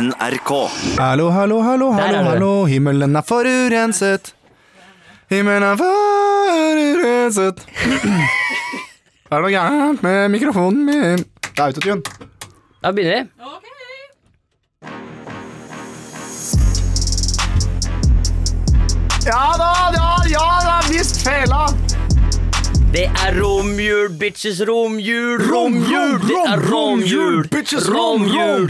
NRK. Hallo, hallo, hallo, Der er hallo, du. hallo. Himmelen er forurenset. Himmelen er forurenset. Er det noe gærent med mikrofonen min? Det er autotune. Da begynner vi. Ja da, ja, ja da, visst fela. Det er romjul, bitches, romjul, Rom, romjul. rom, Det er rom, romjul, romjul, bitches, rom, rom.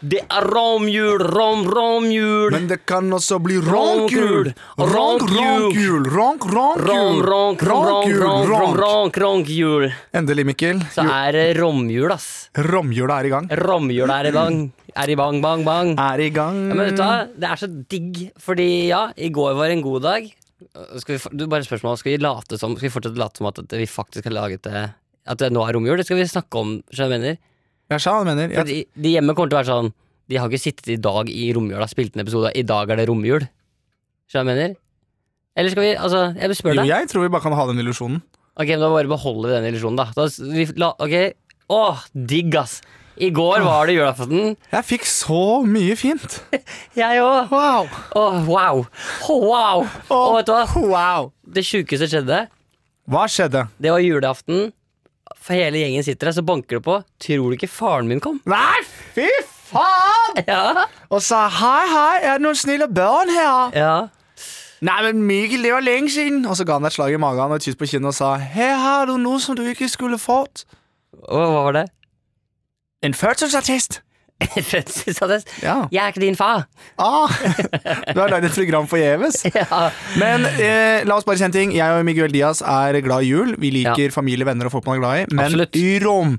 Det er romjul, rom, romjul. Men det kan også bli Ronkhjul. ronkhjul. Ronk, Ronkhjul. ronkhjul. Ronk, Rom, ronkhjul. ronk, ronk, Ronkhjul, ronk, ronk, ronk. ronk, ronk, jul. Endelig, Mikkel. Så er det romjul, ass. Romjula er i gang. Romjul er i bang, er i bang, bang, bang. Er i gang. Ja, men vet du hva, det er så digg, fordi ja, i går var en god dag. Øh, Skal vi, for- du bare spørsmål, skal vi, late som, skal vi fortsette å late som at, at vi faktisk har laget det At det nå er romjul? Det skal vi snakke om, skjønner du hva jeg mener. Jeg sa hva du mener. Jeg, Fordi de hjemme kommer til å være sånn De har ikke sittet i dag i romjula og spilt en episode. I dag er det romjul. Skjønner du hva jeg mener? Eller skal vi Altså, jeg vil spørre jo, deg. jeg tror vi bare kan ha den illusjonen. Ok, men Da bare beholder vi den illusjonen, da. da s- vi, la, ok, Åh, digg, ass. I går var det julaften. Jeg fikk så mye fint. Jeg òg. Wow. Åh, wow. Åh, wow. Og vet du hva? Wow. Det sjukeste skjedde. Hva skjedde? Det var julaften. For hele gjengen sitter der, så banker det på. Tror du ikke faren min kom? Nei, fy faen! Ja. Og sa hei, hei, er det noen snille barn her? ja. Nei, men Mikkel, det var lenge siden. Og så ga han et slag i magen og et kyss på kinnet og sa her har du noe som du ikke skulle fått. Og hva var det? En fødselsattest. Fødselsattest. Ja. Jeg er ikke din far. Ah, du har lagd et program forgjeves. Ja. Men eh, la oss bare si en ting. Jeg og Miguel Diaz er glad i jul. Vi liker familie, venner og folk man er glad i. Men Absolutt. rom,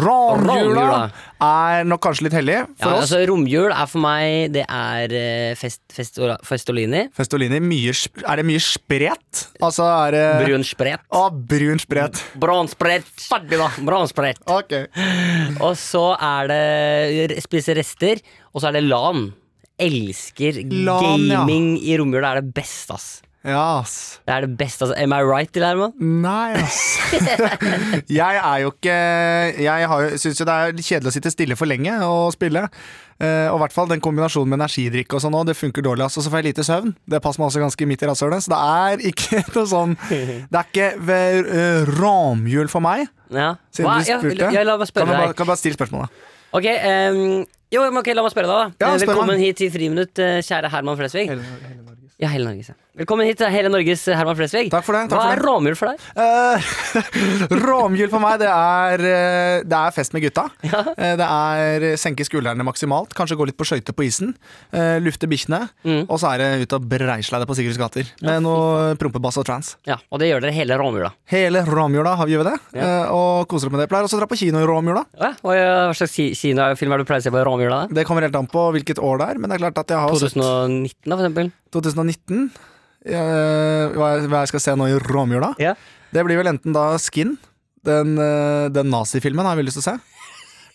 romjula Romjula. er nok kanskje litt hellig Ja, for oss. altså, romjul er for meg Det er eh, fest, fest, festolini. Festolini, mye, sp- er det mye spredt? Altså er det Brun spret. Å, brun spredt. Brun spret. Ferdig, da. Brun spret. Ok. Og så er det spise rester. Og så er det LAN. Elsker LAN, ja. gaming i romjula. Det er det beste, ass. Ja, ass. Det er det beste, ass. Am I right, Dilerman? Nei, ass. jeg er jo ikke Jeg har jo- syns jo det er kjedelig å sitte stille for lenge og spille. Eh, og i hvert fall den kombinasjonen med energidrikk og sånn òg, det funker dårlig. ass. Og så får jeg lite søvn. Det passer meg også ganske midt i rasshølet, så det er ikke noe sånn Det er ikke ved, eh, ramjul for meg. Ja. Siden Hva- du spurte. Ja, ja, la Kan meg du spørre bare, deg. kan du bare stille spørsmålet? Ok, ehm, jo, men ok, la meg spørre deg, Ja, da. Eh, spør meg. Velkommen hit til Friminutt, eh, kjære Herman Flesvig. Ja, hele Norges. ja. Velkommen hit til hele Norges eh, Herman Flesvig. Takk for det, takk Hva for er det. romjul for deg? Eh, Romjul for meg, det er, eh, det er fest med gutta. Eh, Det er senke skuldrene maksimalt, kanskje gå litt på skøyter på isen. eh, Lufte bikkjene. Og så er det ut og breisle deg på Sigurds gater med noe prompebass og trans. Ja, Og det gjør dere hele romjula. Hele romjula har vi jo det, eh, og koser oss med det. Pleier også å dra på kino i romjula. Å, ja. Hva hva slags ki- kinofilm er det du pleier å se på i romjula? da? Det kommer helt an på hvilket år det er, men det er klart at jeg har sett 2019, da, for eksempel? 2019. eh, Hva jeg- hva jeg skal se nå i romjula. Ja. Det blir vel enten da Skin, den, eh, den nazifilmen har jeg veldig lyst til å se.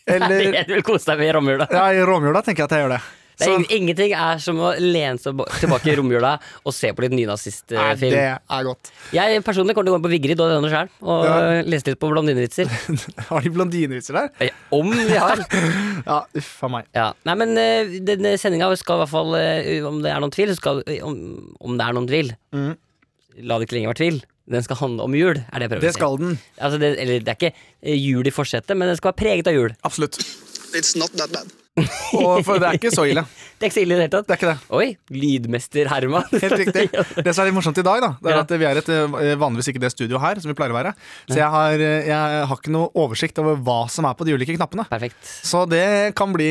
Eller Jeg vil kose deg med i romjula. Ja, i romjula tenker jeg at jeg gjør det. Det er Så- ing- ingenting er som å lene seg ba- tilbake i romjula og se på litt Nei, nynazistfilm. det er godt. Jeg personlig kommer til å gå inn på Vigrid og denne sjæl og Ja. eh, lese litt på blondinevitser. Har de blondinevitser der? Eh, Om vi har. Ja, uff a meg. Ja, nei, men eh, denne sendinga skal i hvert fall eh, Om det er noen tvil, så skal om, om det er noen tvil Mhm. La det ikke lenger være tvil. Den skal handle om jul, er det jeg prøver Det å si. skal den. Altså, det, eller det er ikke eh, jul i forsetet, men den skal være preget av jul. Absolutt. It's not that bad. Og for det er ikke så ille. Det er ikke så ille i det hele Det tatt. er ikke det. Oi, lydmester Herman. Helt riktig. Det som er litt morsomt i dag, da, det er Ja. at vi er et eh, vanligvis ikke det studio her, som vi pleier å være. Så jeg har, eh, jeg har ikke noe oversikt over hva som er på de ulike knappene. Perfekt. Så det kan bli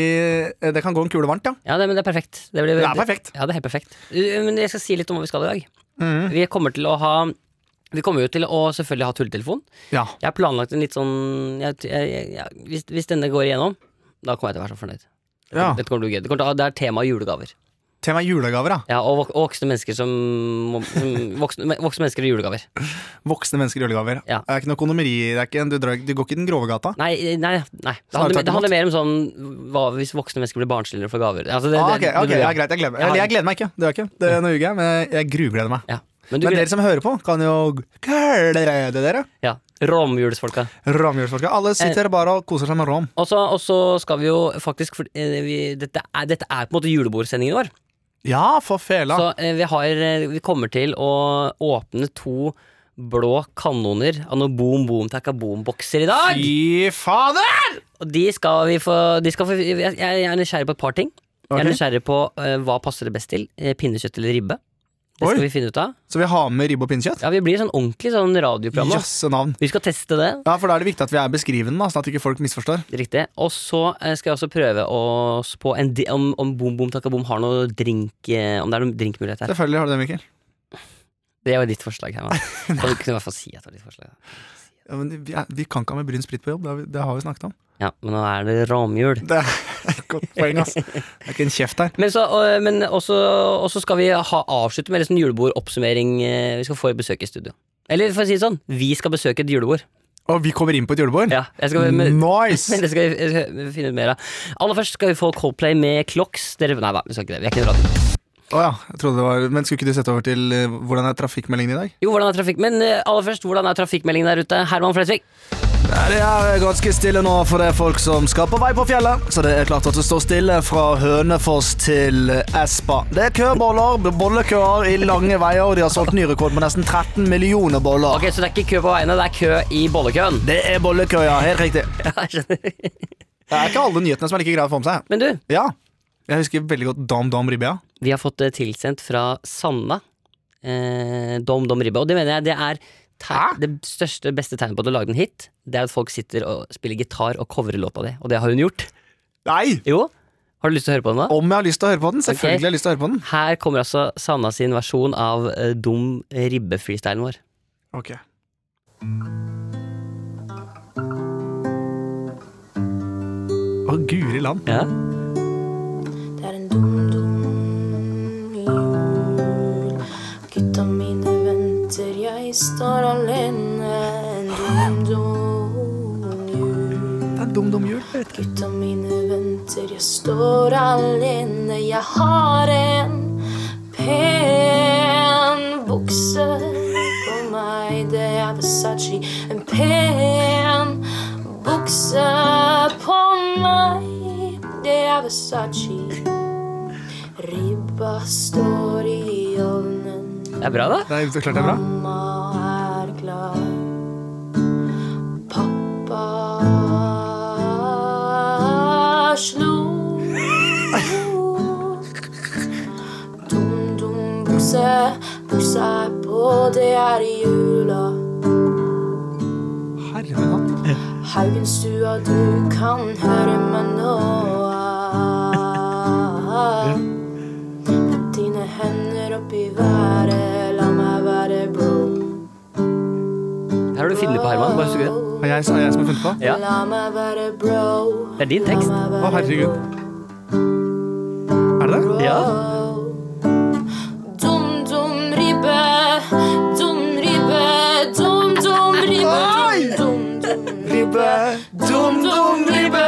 eh, Det kan gå en kule varmt, ja. Ja, det, men det er perfekt. Det, blir, Det er perfekt. Mm. Ja, det er helt perfekt. Uh, Men jeg skal si litt om hva vi skal i dag. Vi kommer til å ha Vi kommer jo til å selvfølgelig ha tulletelefon. Ja. Jeg har planlagt en litt sånn jeg, jeg, jeg, jeg, hvis, hvis denne går igjennom, da kommer jeg til å være så fornøyd. ja. Dette kommer til å bli gøy. Det, kommer til, å- det er tema julegaver. Tema julegaver, da. Ja, og vok- og voksne mennesker som, som voksne, men- voksne mennesker og julegaver. Voksne mennesker julegaver. Ja. Det er ikke noe økonomeri. Det er ikke en, du, drar, du går ikke i den grove gata. Nei, nei, nei. Det Snarere handler, tvert det handler mer om sånn hva hvis voksne mennesker blir barnsligere for gaver. Altså, det, Ah, det- ok, ok, det- ja, greit, jeg gleder meg. Eller jeg gleder meg ikke, det gjør jeg ikke. Det, nå ljuger jeg, men jeg grugleder meg. Ja. Men Men, du vil- dere som hører på, kan jo glede dere. Ja, Romjulsfolka. Romjulsfolka. Alle sitter bare og koser seg med rom. Og så og så skal vi jo faktisk for, eh, vi, dette, er, dette er på en måte julebordsendingen vår. Ja, for fela. Så eh, vi, har, eh, vi kommer til å åpne to blå kanoner av noen boom boom takka boom-bokser i dag. Fy fader! Og de skal vi få, de skal få jeg, jeg jeg er nysgjerrig på et par ting. Jeg er Ok. nysgjerrig på eh, hva passer det best til. eh, pinnekjøtt eller ribbe. Det Oi. skal vi finne ut av. Så vi har med ribbe og pinnekjøtt? Ja, Vi blir sånn ordentlig sånn radioprogram. nå. Jøsse navn. Vi skal teste det. Ja, for da er det viktig at vi er beskrivende, da, sånn at ikke folk misforstår. Riktig. Og så eh, skal jeg også prøve oss på en di om, om Boom Boom Takka Boom har noe drink eh, Om det er noen drinkmulighet her. Selvfølgelig har du det, Mikkel. Det var ditt forslag. Herman. Kan du kunne i hvert fall si at det var ditt forslag? da? Ja, men vi, er, vi kan ikke ha med brun sprit på jobb, det har vi, det har vi snakket om. Ja, men nå er det romjul. Det er et godt poeng, ass. Det er ikke en kjeft her. Men, så, og- men også, også skal vi ha, avslutte med en sånn julebordoppsummering. eh, Vi skal få et besøk i studio. Eller for å si det sånn, vi skal besøke et julebord. Og vi kommer inn på et julebord. Ja, jeg skal, men, men Nice! det skal vi eh, finne ut mer av. Aller først skal vi få Coldplay med Clocks. Dere, nei da, vi skal ikke det. Vi er ikke en radio. Å ja, jeg trodde det var Men skulle ikke du sette over til eh, hvordan er trafikkmeldingen i dag? Jo, hvordan er trafikk... Men eh, aller først, hvordan er trafikkmeldingen der ute? Herman Flesvig? Det er eh, ganske stille nå for det er folk som skal på vei på fjellet. Så det er klart at det står stille fra Hønefoss til eh, Espa. Det er køboller, bollekøer i lange veier, og de har solgt ny rekord på nesten 13 millioner boller. Ok, Så det er ikke kø på veiene, det er kø i bollekøen. Det er bollekøer, ja. Helt riktig. Ja, jeg skjønner. Det er ikke alle nyhetene som er like greie å få med seg. Men du, Ja. Jeg husker veldig godt Dam Dam Ribbea. vi har fått det tilsendt fra Sanna. Eh, dom Dom Ribbe. Og det mener jeg det er teg- det største, beste tegnet på at du lager en hit. Det er at folk sitter og spiller gitar og covrer låta di. Og det har hun gjort. Nei! Jo. Har du lyst til å høre på den, da? Om jeg har lyst til å høre på den? Selvfølgelig Ok. har jeg lyst til å høre på den. Her kommer altså Sanna sin versjon av eh, Dum Ribbe-freestylen vår. Ok. Å, guri land. Ja. Det er en dum, dum jul. Gutta mine venter, jeg står alene. En dum, dum jul. Det er dum, dum jul. vet du. Gutta mine venter, jeg står alene. Jeg har en pen bukse på meg. Det er Versace. En pen bukse på meg. Det er Versace. Ribba står i ovnen. Det er bra, da. Det er klart det er bra. Mamma er glad. Pappa slo. Dum, dum, bukse, buksa er på, det er i jula. Herre min hatt. Haugenstua, du kan høre meg nå. Putt dine hender opp i været, la meg være bro. Her har du funnet på Herman. Bare husk det. Har jeg, har jeg som har funnet på? Ja. La meg være bro. Det er din tekst. La meg være Å, herregud. Er det det? bro. Ja. Dum, dum ribbe. Dum ribbe. Dum, dum ribbe. Oi! Dum, dum Ribbe, dum, dum ribbe,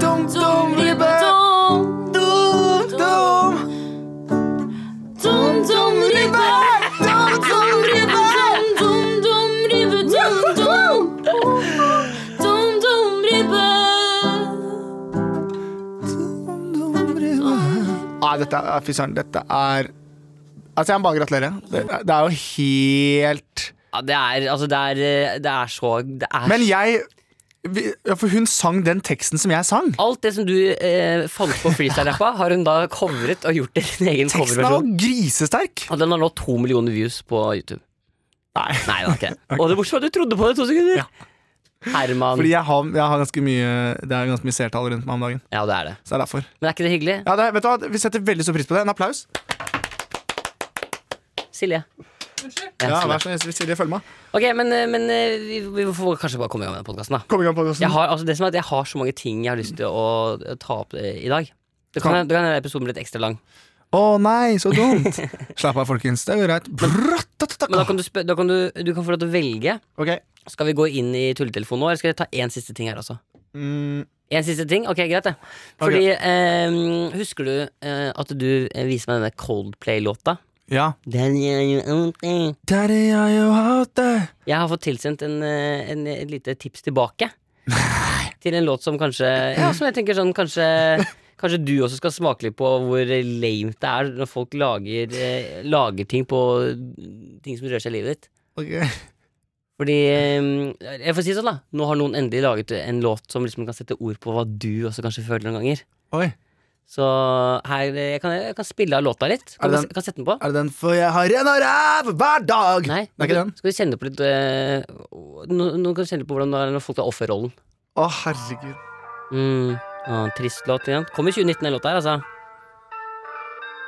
dum, dum ribbe, Dum, dum, dum. dum, dum ribbe. Dum, dum ribbe. Dum, dum ribbe. Dum, dum. Dum, dum ribbe. Dum, dum ribbe. Nei, dette er, fy søren, dette er Altså, jeg må bare gratulere. Det, det er jo helt Ja, det er, altså, det er, eh, det er så det er Men jeg vi- ja, For hun sang den teksten som jeg sang. Alt det som du eh, fant på freestyle-rappa, har hun da covret og gjort i sin egen Teksten er jo coverversjon. grisesterk! Og den har nå to millioner views på YouTube. Nei, Nei, det var ikke det. Og det morsomme er at du trodde på det i to sekunder! Herman. fordi jeg har, jeg har ganske mye Det er ganske mye seertall rundt meg om dagen. Ja, det er det. Så det er derfor. Men er ikke det hyggelig? Ja, det, vet du hva, Vi setter veldig stor pris på det. En applaus. Silje. Ja, Silje. vær så snill, Silje, følg med. Ok, men, eh, men eh, vi, vi får kanskje bare komme i gang med den podkasten, da. Kom i gang, podkasten. Jeg har, altså, det som er at jeg har så mange ting jeg har lyst til å ta opp eh, i dag. Det kan, det kan hende episoden blir litt ekstra lang. Å nei, så dumt! Slapp av, folkens. Det er jo greit. Men da kan du, spø da kan du, du kan få lov til å velge. Ok. Skal vi gå inn i tulletelefonen nå, eller skal jeg ta én siste ting her også? Mm, En siste ting? Ok, greit, det. Fordi ehm, Husker du eh, at du eh, viste meg denne Coldplay-låta? Ja. Den gjør jo alltid. Daddy, are you out there? Jeg har fått tilsendt en, eh, en, et lite tips tilbake. Til en låt som kanskje Ja, som jeg tenker sånn kanskje Kanskje du også skal smake litt på hvor lame det er når folk lager, eh, lager ting på ting som rører seg i livet ditt. Ok. Fordi eh, Jeg får si det sånn, da. Nå har noen endelig laget en låt som liksom kan sette ord på hva du også kanskje føler noen ganger. Oi. Så her eh, jeg kan jeg kan spille av låta Er litt. Kan, det den- jeg- kan jeg sette den på? Er det den 'For jeg har en ræv hver dag'? Nei, Det er ikke nå- den. Skal vi kjenne på litt eh, nå, nå kan du kjenne på hvordan det er når folk tar offerrollen. Å, herregud. Mm. Ja, trist låt igjen. Kommer 2019 den låta her, altså.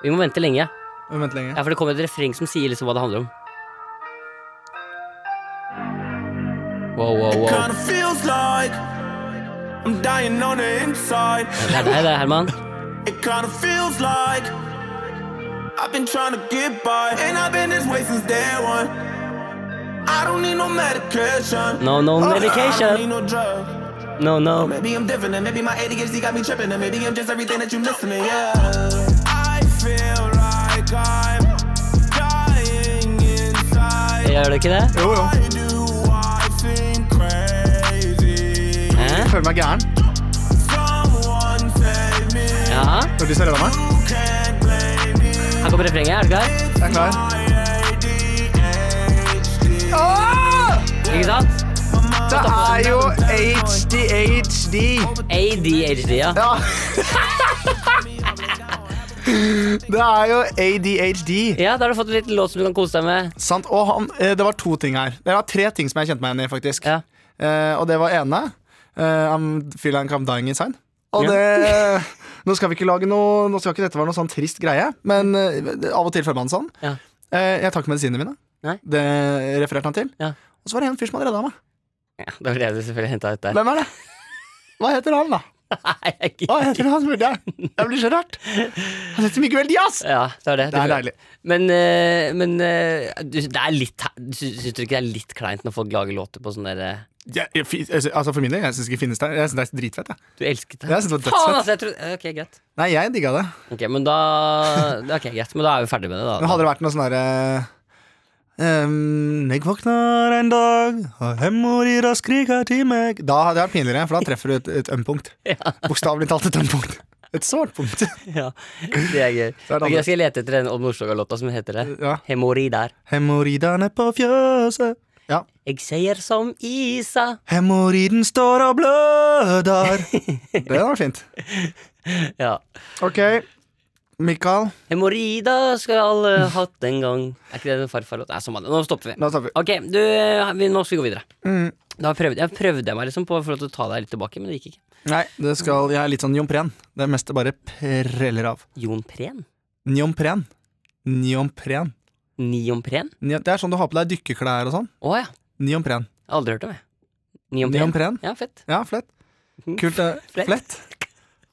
Vi må vente lenge. Vent lenge. Ja, for det kommer et refreng som sier liksom hva det handler om. Wow, wow, wow. Kinda feels like I'm dying on the inside. Det er deg, det, Herman. It kinda feels like I've been trying to get by, and I've been this way since day one. I don't need no medication. No, no I Ah, don't need medication. no drug. No, no. Maybe I'm different, and maybe my ADHD got me tripping, and maybe I'm just everything that you missing. And yeah, I feel like I'm dying inside. Gjør det ikke det? Jo, jo. Why do I think crazy? Hæ? Jeg føler meg gæren. Someone save me. Ja. Når du ser redda meg? You can't blame me. Her kommer refrenget. Er du klar? Jeg er klar. My ADHD. Ikke sant? Det er jo HDHD. ADHD, ja. Ja. Det er jo ADHD. Ja, Da har du fått en liten låt som du kan kose deg med. Sant. Og han, eh, det var to ting her. Det var tre ting som jeg kjente meg igjen i, faktisk. Ja. Eh, og det var ene. eh, I'm feeling like I'm dying inside. Og Ja. det Nå skal vi ikke lage noe Nå skal ikke dette være noe sånn trist greie, men eh, av og til føler man det sånn. Ja. Eh, jeg tar ikke medisinene mine. Nei. Det refererte han til. Ja. Og så var det en fyr som hadde redda meg. Ja, Da ble jeg selvfølgelig henta ut der. Hvem er det? Hva heter han, da? Nei, jeg gidder Hva heter han, spurte jeg. Jeg blir så rørt. Han heter Miguel Diaz. Ja, det er det. Det er deilig. Men, eh, men eh, du, det er litt, du syns du ikke det er litt kleint når folk lager låter på sånn derre Jeg, jeg, fin- altså For min del, jeg syns ikke finnes det. Jeg synes det er dritfett. Jeg. Du elsket det? Jeg synes det var Faen, dødsfett. altså! Jeg trodde, ok, greit. Nei, jeg digga det. Ok, men da Ok, greit, men da er vi ferdig med det, da. Men hadde det vært noe sånn derre ehm, jeg våkner en dag, og hemoroider skriker til meg Da hadde jeg vært pinligere, for da treffer du et, et ømpunkt. Bokstavelig talt et ømpunkt. Et sårt punkt. Ja, det er gøy. er det Ok, andre. jeg skal lete etter den Odd Nordstoga-låta som heter det. Ja. Hemoroider. Hemoroidene på fjøset. Ja. Jeg sier som Isa. Hemoroiden står og bløder. Det var fint. Ja. Ok, Mikael. Hemoroider skal alle hatt en gang. Er ikke det en farfarlåt? Nei, samme det. Nå stopper vi. Nå stopper vi. Ok, du, vi, nå skal vi gå videre. Mm. Da prøvde, jeg prøvde meg liksom på for å ta deg litt tilbake, men det gikk ikke. Nei, det skal, jeg er litt sånn jompren. Det er mest det bare preller av. Jon Prehn? Njompren. Njompren. Niompren? Njo- Det er sånn du har på deg dykkerklær og sånn. Å ja. Njompren. Jeg har aldri hørt om det. Niompren? Njompren. Ja, fett. Ja, flett. Kult. eh, Flett. Flett.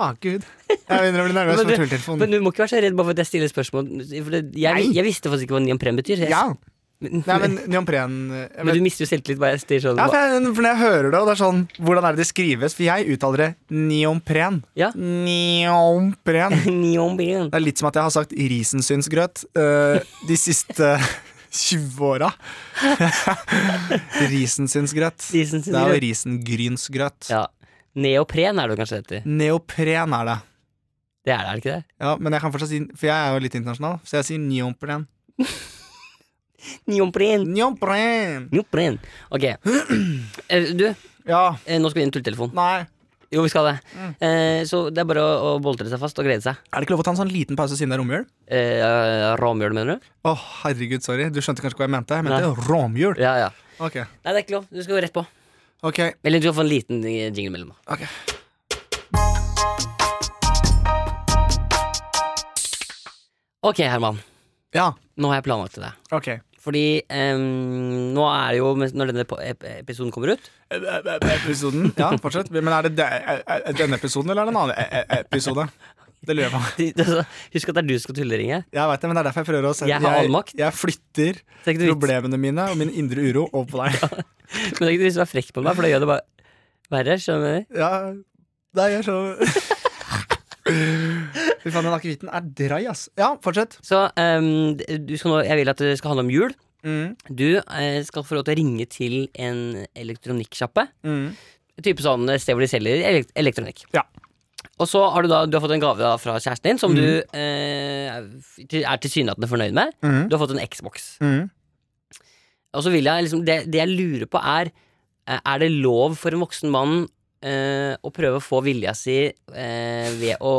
Å, gud. Jeg begynner å bli nervøs Men for du- tulletelefonen. Men du må ikke være så redd bare for at jeg stiller spørsmål. For det, jeg, Sånn. Nei. jeg visste faktisk ikke hva niompren betyr. Jeg, Ja. men, Nei, men njompren eh, jeg men vet- du mister jo selvtillit bare jeg stirrer sånn. ja, Ja, for, jeg, for når jeg hører det, og det er sånn Hvordan er det det skrives? For jeg uttaler det njompren. Ja. Njompren. Niompren. Det er litt som at jeg har sagt risensynsgrøt eh, de siste 20 åra. risensynsgrøt. Det er jo Risensynsgrøt. risengrynsgrøt. Ja. Neopren er det jo kanskje det heter. Neopren er det. Det er det, er det ikke det? Ja, men jeg kan fortsatt si For jeg er jo litt internasjonal, så jeg sier neopren. Niompren. Neopren! Niompren. Ok. Eh, Du, Ja. eh, nå skal vi inn i tulletelefonen. Nei. Jo, vi skal det. Eh, Så det er bare å, å boltre seg fast og glede seg. Er det ikke lov å ta en sånn liten pause siden det er romjul? Eh, Ramjøl, mener du? Å, herregud, sorry. Du skjønte kanskje hva jeg mente? Jeg mente Nei. romjul. Ja, ja. Ok. Nei, det er ikke lov. Du skal gå rett på. Ok. Eller du skal få en liten eh, jingle mellom. da. ok Ok, Herman. Ja. Nå har jeg planlagt til deg. Ok. Fordi ehm, nå er det jo mens- Når denne po- ep- episoden kommer ut Episoden. Ja, fortsett. Men er det de- er det denne episoden, eller er det en annen e- e- episode? Det lurer jeg på. Husk at det er du som skal tulleringe. Jeg vet det, men det er derfor jeg prøver å sende Jeg har all makt. Jeg, jeg flytter Det er ikke noe vits. problemene mine og min indre uro over på deg. Men det er ikke du som er frekk på meg, for da gjør det bare verre. Skjønner du? Ja, Nei, jeg skjønner Fy faen, den akevitten er dry, ass. Ja, fortsett. Så ehm, du skal nå, jeg vil at det skal handle om jul. Mm, Du eh, skal få lov til å ringe til en elektronikksjappe. mm. En Type sånn sted hvor de selger elekt elektronikk. Ja. Og så har du da Du har fått en gave da fra kjæresten din som du Mm. eh, er til- er tilsynelatende fornøyd med. Mhm. Du har fått en Xbox. Mm. Og så vil jeg liksom Det, det jeg lurer på, er eh, Er det lov for en voksen mann eh, å prøve å få vilja si eh, ved å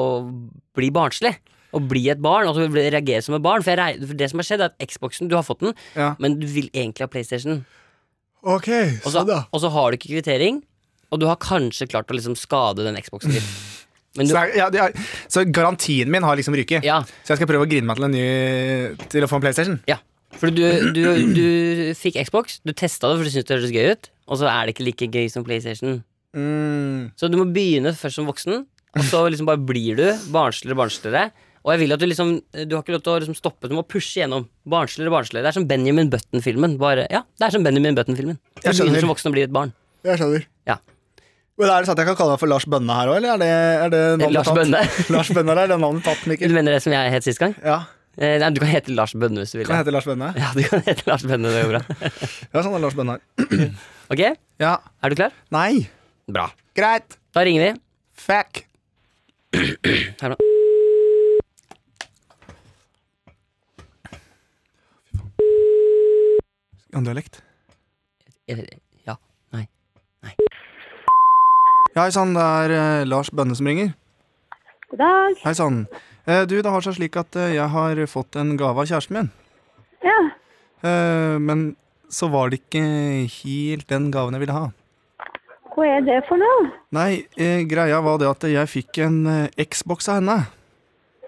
bli barnslig? Å bli et barn, altså bli- reagere som et barn. For, jeg, reg- for det som har skjedd, er at Xboxen, du har fått den, Ja. men du vil egentlig ha PlayStation. Ok, Og så, og så har du ikke kvittering, og du har kanskje klart å liksom skade den Xboxen litt. Men du, Så, er- ja, det er, så garantien min har liksom ryket. ja, Så jeg skal prøve å grine meg til en ny Til å få en PlayStation. ja. For du, du, du fikk Xbox, du testa det for du syntes det hørtes gøy ut, og så er det ikke like gøy som PlayStation. Mm. Så du må begynne først som voksen, og så liksom bare blir du barnsligere og barnsligere. Og jeg vil at du liksom Du har ikke lov til å liksom stoppe, du må pushe gjennom. Barnsligere og barnsligere. Det er som Benjamin Button-filmen. Bare, ja, det er som Benjamin Button-filmen. Du Jeg skjønner. begynner som voksen og blir et barn. Jeg skjønner. Ja. Men Er det sånn at jeg kan kalle deg for Lars Bønne her òg, eller er det, er det navnet Lars tatt? Bønne. Lars Bønne er det navnet tatt, Du Mikkel. mener det som jeg het sist gang? Ja, Eh, nei, du kan hete Lars Bønne hvis du vil. Kan jeg hete Lars Bønne? Ja, du kan hete Lars Bønne, det går bra. Ja, sånn er Lars Bønne her. Ok, er Ja. du klar? Nei. Bra. Greit. Da ringer vi. Fuck. Her nå. Andølekt. Eh, Ja. Nei. Ja, hei sann, det er eh, Lars Bønne som ringer. God dag. Hei sann. Eh, du, det har seg slik at eh, jeg har fått en gave av kjæresten min. Ja, Eh, men så var det ikke helt den gaven jeg ville ha. hva er det for noe? Nei, eh, greia var det at jeg fikk en eh, Xbox av henne.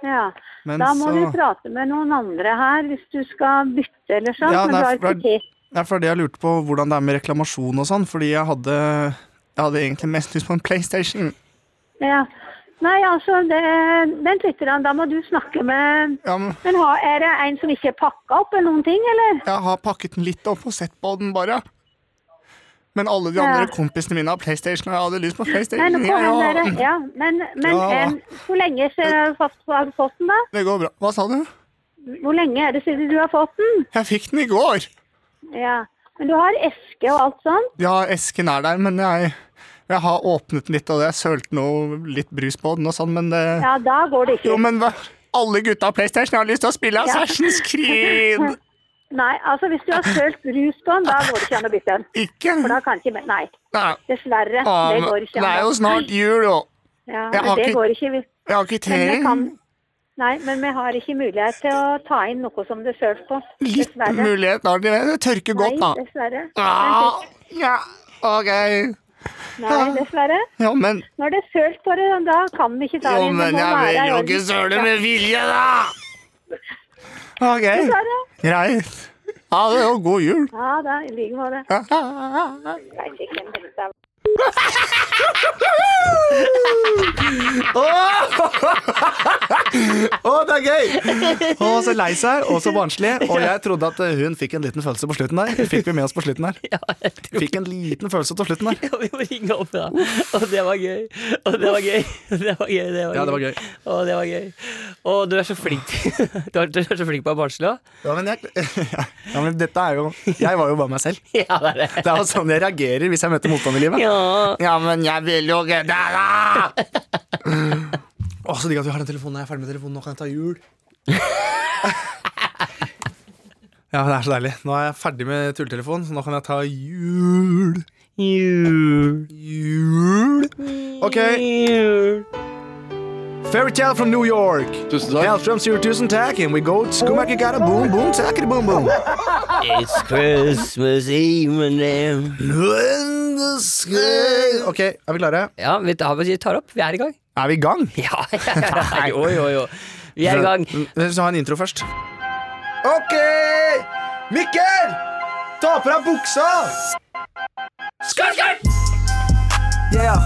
Ja, Men Da må så du prate med noen andre her hvis du skal bytte eller sånn. Ja, men du nei, har for- ikke tid. Det er fordi jeg lurte på hvordan det er med reklamasjon og sånn, fordi jeg hadde, jeg hadde egentlig mest lyst på en PlayStation. Ja. Nei, altså, det, vent litt, grann, da må du snakke med Ja, men Men har, er det en som ikke er pakka opp eller noen ting, eller? jeg har pakket den litt opp og sett på den bare. Men alle de andre Ja. kompisene mine har PlayStation, og jeg hadde lyst på Men, PlayStation. jeg hva hen også. er det? Ja, men, men Ja. en, hvor lenge siden har du fått, har du fått den, da? Det går bra. Hva sa du? Hvor lenge er det siden du har fått den? Jeg fikk den i går. Ja. Men du har eske og alt sånt? Ja, esken er der, men jeg, jeg har åpnet den litt, og jeg sølte noe litt brus på den og sånn, men det... Ja, da går det ikke. Jo, men hva? Alle gutta har PlayStation, jeg har lyst til å spille Assassin's Creed! Nei, altså, hvis du har sølt brus på den, da går det ikke an å bytte den. Ikke? For da kan ikke Nei. Nei. Dessverre. Ah, det men går ikke det er jo snart jul, jo. Ja, jeg har det ikke- går ikke. Vi- Jeg har Men vi kvittering. kan... Nei, men vi har ikke mulighet til å ta inn noe som det søls på. Litt Dessverre. mulighet har dere. Det tørker godt, Nei, da. dessverre. Ah, ja, OK. Nei, dessverre. Jo, men, Når det er sølt på det, da kan vi ikke ta jo, det inn. Det men må jeg være vil i jo orden. ikke søle Ja, med vilje, da! OK. Dessverre. Greit. Ha det, og god jul. Ja da, i like måte. Å, Jeg vet ikke hvem dette er. det er gøy! Å, så lei seg, og så barnslig. Og jeg trodde at eh, hun fikk en liten følelse på slutten der. Fikk vi med oss på slutten der? Ja, jeg tror Fikk en liten følelse på slutten der. ja, vi må ringe opp, da. Og det var gøy. Og det var gøy. Det var gøy. Det var Ja, det var gøy. Å, det var gøy. Å, du er så flink Du er, du er så flink på å være barnslig òg. Ja, men, jeg, ja, men dette er jo Jeg var jo bare meg selv. Ja, det er det. Det er jo sånn jeg reagerer hvis jeg møter motstand i livet. Ja. Ja, men jeg vil jo ikke det, da! Å, så digg at vi har den telefonen. Jeg er ferdig med telefonen, nå kan jeg ta jul. ja, det er så deilig. Nå er jeg ferdig med tulletelefonen, så nå kan jeg ta jul. Jul. Jul. OK. Jul. Fairytale from New York. Tusen takk. Hellstrøm sier tusen takk, and we go to Skumakikara. Boom, boom, takkity, boom, boom. It's Christmas evening. OK, er vi klare? Ja, vi tar, vi tar opp. Vi er i gang. Er vi i gang? Ja, ja, ja. Jo, jo, jo. Vi er i gang. Vi skal ha en intro først. OK! Mikkel! Ta på deg buksa! Skørt, skørt! Yeah.